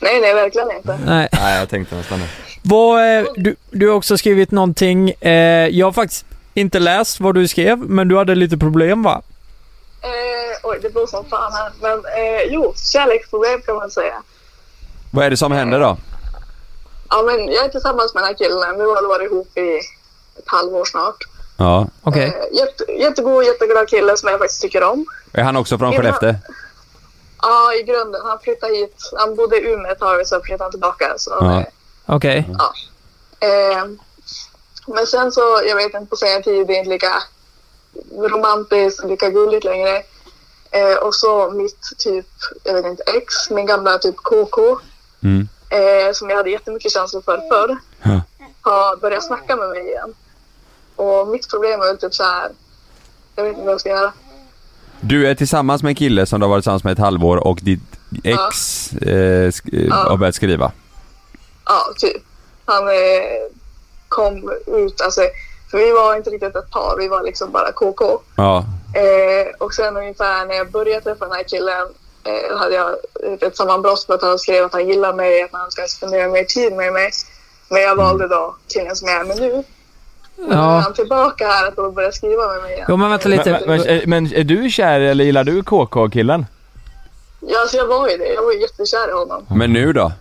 Speaker 5: Nej, nej, verkligen inte.
Speaker 4: Nej.
Speaker 3: Nej jag tänkte nästan det.
Speaker 4: Vad, eh, du, du har också skrivit någonting. Eh, jag har faktiskt inte läst vad du skrev, men du hade lite problem va?
Speaker 5: Eh, Oj, det beror som fan här. Men eh, jo, kärleksproblem kan man säga.
Speaker 2: Vad är det som händer då?
Speaker 5: Ja, men jag är tillsammans med den här killen. Vi har varit ihop i ett halvår snart.
Speaker 2: Ja.
Speaker 4: Okej.
Speaker 5: Eh, jätte, jättegod, jätteglad kille som jag faktiskt tycker om.
Speaker 2: Är han också från Skellefteå?
Speaker 5: Ja, i grunden. Han flyttade hit. Han bodde i Umeå ett tag och sen flyttade han tillbaka. Så,
Speaker 2: Ja.
Speaker 4: Okej.
Speaker 5: eh, men sen så, jag vet inte, på senare tid det är inte lika romantiskt och lika gulligt längre. Eh, och så mitt typ, jag vet inte, ex, min gamla typ KK,
Speaker 2: Mm.
Speaker 5: eh, som jag hade jättemycket känslor för förr,
Speaker 2: Ja.
Speaker 5: har börjat snacka med mig igen. Och mitt problem är väl typ så här, jag vet inte vad jag ska göra.
Speaker 2: Du är tillsammans med en kille som du har varit tillsammans med ett halvår och ditt ex eh, sk- eh,
Speaker 5: Ja.
Speaker 2: har börjat skriva.
Speaker 5: Ja, typ. Han eh, kom ut, alltså, för vi var inte riktigt ett par, vi var liksom bara KK.
Speaker 2: Ja.
Speaker 5: Eh, och sen ungefär när jag började träffa den här killen eh, hade jag ett sammanbrott för att han skrev att han gillar mig, att han ska spendera mer tid med mig. Men jag valde då killen som jag är med nu. Och nu är
Speaker 4: Mm. Ja.
Speaker 5: han tillbaka här att då börja skriva med mig igen.
Speaker 4: Jo men vänta lite.
Speaker 3: Men, men, men, men är du kär eller gillar du KK-killen?
Speaker 5: Ja, alltså jag var ju det. Jag var ju jättekär i honom.
Speaker 2: Men nu då?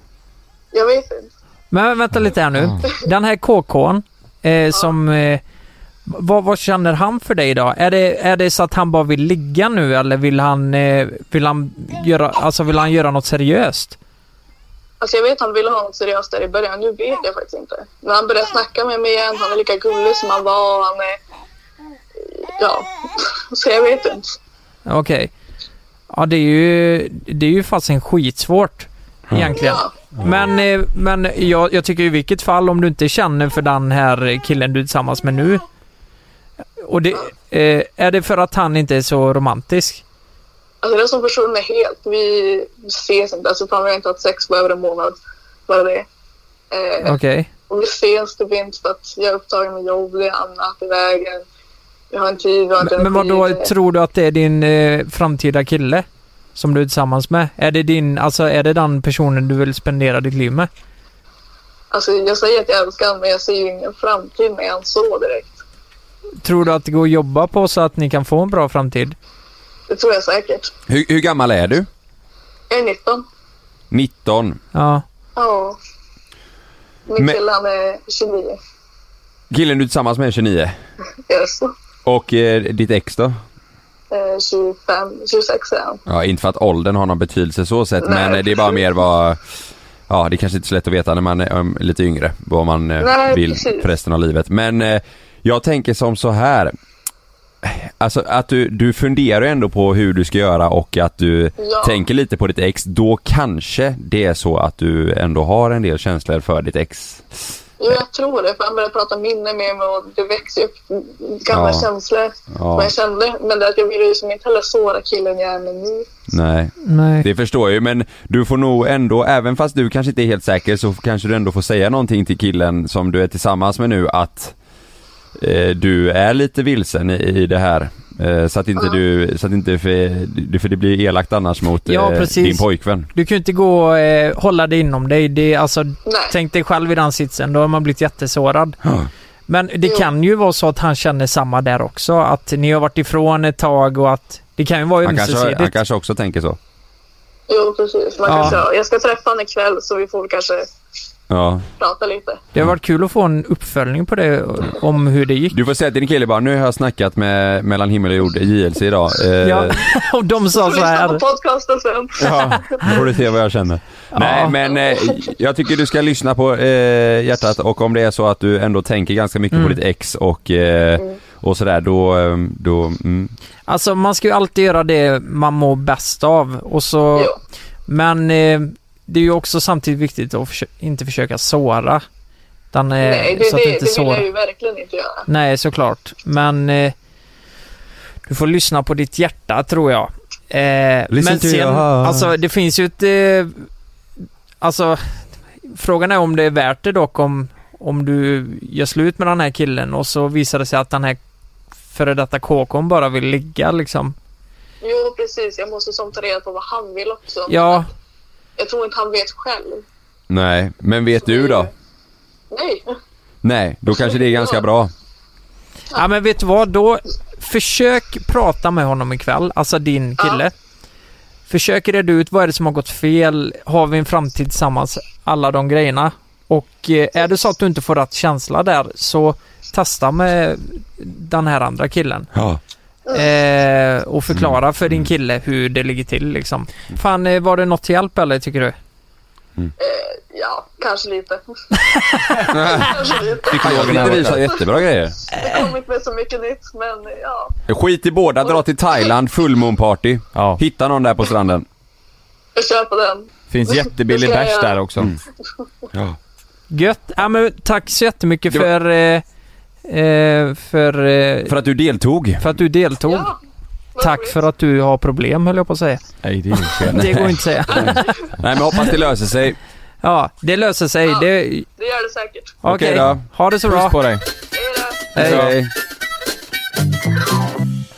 Speaker 5: Jag vet inte.
Speaker 4: Men vänta lite här nu. Den här KK'n eh, som... Eh, vad, vad känner han för dig idag? Är det, är det så att han bara vill ligga nu eller vill han, eh, vill han göra, alltså vill han göra något seriöst?
Speaker 5: Alltså jag vet att han ville ha något seriöst där i början. Nu vet jag faktiskt inte. Men han började snacka med mig igen. Han är lika gullig som han var. Han är... Ja. Så jag vet inte.
Speaker 4: Okej. Ja det är ju, det är ju fasen skitsvårt. Egentligen.
Speaker 5: Ja.
Speaker 4: Men, eh, men jag, jag tycker i vilket fall om du inte känner för den här killen du är tillsammans med nu. Och det, eh, är det för att han inte är så romantisk?
Speaker 5: Alltså det som försvunnit helt. Vi ses inte. Alltså fan, vi har inte haft sex på över en månad. Bara det. Eh,
Speaker 4: Okej.
Speaker 5: och vi ses typ inte för att jag är upptagen med jobb. Det är annat i vägen. Vi har en tid. Vi har inte
Speaker 4: Men, men
Speaker 5: energi.
Speaker 4: vadå,
Speaker 5: Det-
Speaker 4: tror du att det är din eh, framtida kille? Som du är tillsammans med? Är det din, alltså är det den personen du vill spendera ditt liv med?
Speaker 5: Alltså jag säger att jag älskar honom men jag ser ju ingen framtid med honom så direkt.
Speaker 4: Tror du att det går att jobba på så att ni kan få en bra framtid?
Speaker 5: Det tror jag säkert.
Speaker 2: Hur, hur gammal är du?
Speaker 5: Jag är 19.
Speaker 2: 19.
Speaker 4: Ja.
Speaker 5: Ja. Min
Speaker 2: Men-
Speaker 5: kille han är 29.
Speaker 2: Killen du är tillsammans med är 29.
Speaker 5: Yes.
Speaker 2: Och eh, ditt ex då?
Speaker 5: Eh, 25, 26 är han.
Speaker 2: Ja, inte för att åldern har någon betydelse så sett,
Speaker 5: Nej.
Speaker 2: men eh, det är bara mer vad... Ja, det kanske inte är så lätt att veta när man är um, lite yngre, vad man eh,
Speaker 5: Nej,
Speaker 2: vill
Speaker 5: precis.
Speaker 2: för resten av livet. Men eh, jag tänker som så här. Alltså att du, du funderar ju ändå på hur du ska göra och att du
Speaker 5: Ja.
Speaker 2: tänker lite på ditt ex. Då kanske det är så att du ändå har en del känslor för ditt ex.
Speaker 5: Jo, jag tror det. För han började prata minne med mig och det växer upp gamla
Speaker 2: Ja.
Speaker 5: känslor.
Speaker 2: Ja.
Speaker 5: Vad jag kände. Men det är att jag ville ju som inte heller såra killen jag är med nu.
Speaker 2: Nej.
Speaker 4: Nej.
Speaker 2: Det förstår jag ju men du får nog ändå, även fast du kanske inte är helt säker så kanske du ändå får säga någonting till killen som du är tillsammans med nu att eh, du är lite vilsen i, i det här. Eh, så att inte du, så att inte för, du- för det blir elakt annars mot
Speaker 4: Ja,
Speaker 2: eh,
Speaker 4: precis.
Speaker 2: din pojkvän.
Speaker 4: Du kan ju inte gå och eh, hålla det inom dig. Det, är alltså,
Speaker 5: Nej.
Speaker 4: tänk dig själv i den sitsen. Då har man blivit jättesårad. Men det
Speaker 5: Jo.
Speaker 4: kan ju vara så att han känner samma där också. Att ni har varit ifrån ett tag och att det kan ju vara
Speaker 2: Han kanske,
Speaker 4: ömsesidigt.
Speaker 2: han kanske också tänker så.
Speaker 5: Jo, precis. Man
Speaker 4: Ja.
Speaker 5: kanske, jag ska träffa honom ikväll så vi får kanske
Speaker 2: Ja.
Speaker 5: prata lite.
Speaker 4: Det har varit kul att få en uppföljning på det, om hur det gick.
Speaker 2: Du får säga till din kille bara, nu har jag snackat med mellan himmel och jord, JLC idag. Eh,
Speaker 4: Ja, och de sa så
Speaker 5: Lyssna
Speaker 4: här.
Speaker 5: på podcasten sen.
Speaker 2: Ja, då får du se vad jag känner. Nej, men eh, jag tycker du ska lyssna på eh, hjärtat och om det är så att du ändå tänker ganska mycket på ditt ex och, eh, och sådär då, eh, då mm.
Speaker 4: Alltså man ska ju alltid göra det man mår bäst av och så,
Speaker 5: Jo.
Speaker 4: men eh, det är ju också samtidigt viktigt att försö- inte försöka såra. Utan, eh,
Speaker 5: Nej, det,
Speaker 4: så att
Speaker 5: det,
Speaker 4: inte
Speaker 5: det vill
Speaker 4: såra.
Speaker 5: jag ju verkligen inte göra.
Speaker 4: Nej, såklart. Men eh, du får lyssna på ditt hjärta tror jag. Eh,
Speaker 2: Listen
Speaker 4: men
Speaker 2: to
Speaker 4: sen,
Speaker 2: your heart.
Speaker 4: alltså det finns ju ett... Eh, alltså, frågan är om det är värt det dock om, om du gör slut med den här killen och så visar det sig att den här före detta KK'n bara vill ligga liksom.
Speaker 5: Jo, precis. Jag måste som ta reda på vad han vill också.
Speaker 4: Ja,
Speaker 5: Jag tror inte han vet själv.
Speaker 2: Nej, men vet du då?
Speaker 5: Nej.
Speaker 2: Nej, då kanske det är ganska bra.
Speaker 4: ja men vet du vad? Då försök prata med honom ikväll, alltså din kille. Försök reda ut vad är det som har gått fel, har vi en framtid tillsammans, alla de grejerna. Och eh, är det så att du inte får rätt känsla där så testa med den här andra killen.
Speaker 2: Ja.
Speaker 4: Eh, och förklara för
Speaker 2: Mm.
Speaker 4: din kille hur det ligger till liksom. Fan, eh, var det något till hjälp eller tycker du?
Speaker 7: Ja, kanske lite. kanske lite.
Speaker 2: Jag tyckte vi sa jättebra grejer.
Speaker 4: Äh.
Speaker 7: Det kom inte med så mycket nytt, men ja.
Speaker 2: Skit i båda, dra till Thailand, fullmånparty.
Speaker 3: Ja.
Speaker 2: Hitta någon där på stranden.
Speaker 7: Jag kör på den.
Speaker 3: Finns jättebillig
Speaker 7: Det ska jag
Speaker 3: bärs
Speaker 7: göra.
Speaker 3: där också.
Speaker 4: Gött. Ja, men tack så jättemycket
Speaker 2: Det var-
Speaker 4: för, eh, eh, för, eh,
Speaker 2: För att du deltog.
Speaker 4: för att du deltog.
Speaker 7: Ja. vad
Speaker 4: Tack
Speaker 7: roligt.
Speaker 4: för att du har problem höll jag på att säga.
Speaker 3: Nej, det är inget fel.
Speaker 4: Det går inte att säga.
Speaker 2: Nej men hoppas det löser sig.
Speaker 4: Ja, det löser sig.
Speaker 7: Ja.
Speaker 4: Det,
Speaker 7: Det gör det säkert.
Speaker 4: Okej,
Speaker 2: Okej då.
Speaker 4: ha det så
Speaker 3: Puss
Speaker 4: bra.
Speaker 3: på dig.
Speaker 7: Hej då.
Speaker 2: Hej.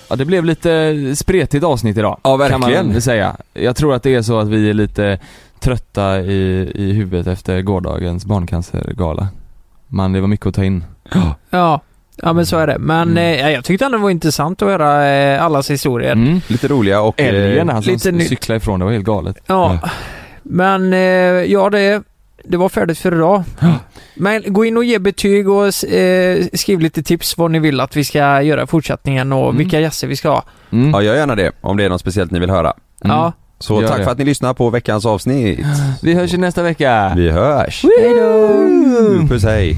Speaker 3: Ja, det blev lite spretigt avsnitt idag.
Speaker 2: Ja, verkligen.
Speaker 3: Kan man väl säga. Jag tror att det är så att vi är lite trötta i, i huvudet efter gårdagens barncancergala. Man, det var mycket att ta in.
Speaker 4: Ja. ja, men så är det. Men
Speaker 3: Mm.
Speaker 4: eh, jag tyckte ändå det var intressant att höra eh, allas historier.
Speaker 3: Mm.
Speaker 2: Lite roliga och... eh,
Speaker 3: Älgen, han
Speaker 4: lite
Speaker 3: som
Speaker 4: nytt.
Speaker 3: cyklade ifrån, det var helt galet.
Speaker 4: Ja. Men eh, ja, det, det var färdigt för idag. Men gå in och ge betyg och eh, skriv lite tips vad ni vill att vi ska göra i fortsättningen och
Speaker 3: Mm.
Speaker 4: vilka gäster vi ska ha.
Speaker 3: Mm.
Speaker 2: Ja, gör gärna det. Om det är något speciellt ni vill höra.
Speaker 3: Mm.
Speaker 4: Ja.
Speaker 2: Så
Speaker 3: Gör
Speaker 2: tack
Speaker 3: det.
Speaker 2: för att ni lyssnar på veckans avsnitt.
Speaker 3: Vi hörs ju nästa vecka.
Speaker 2: Vi hörs!
Speaker 3: Hej då!
Speaker 2: Puss hej!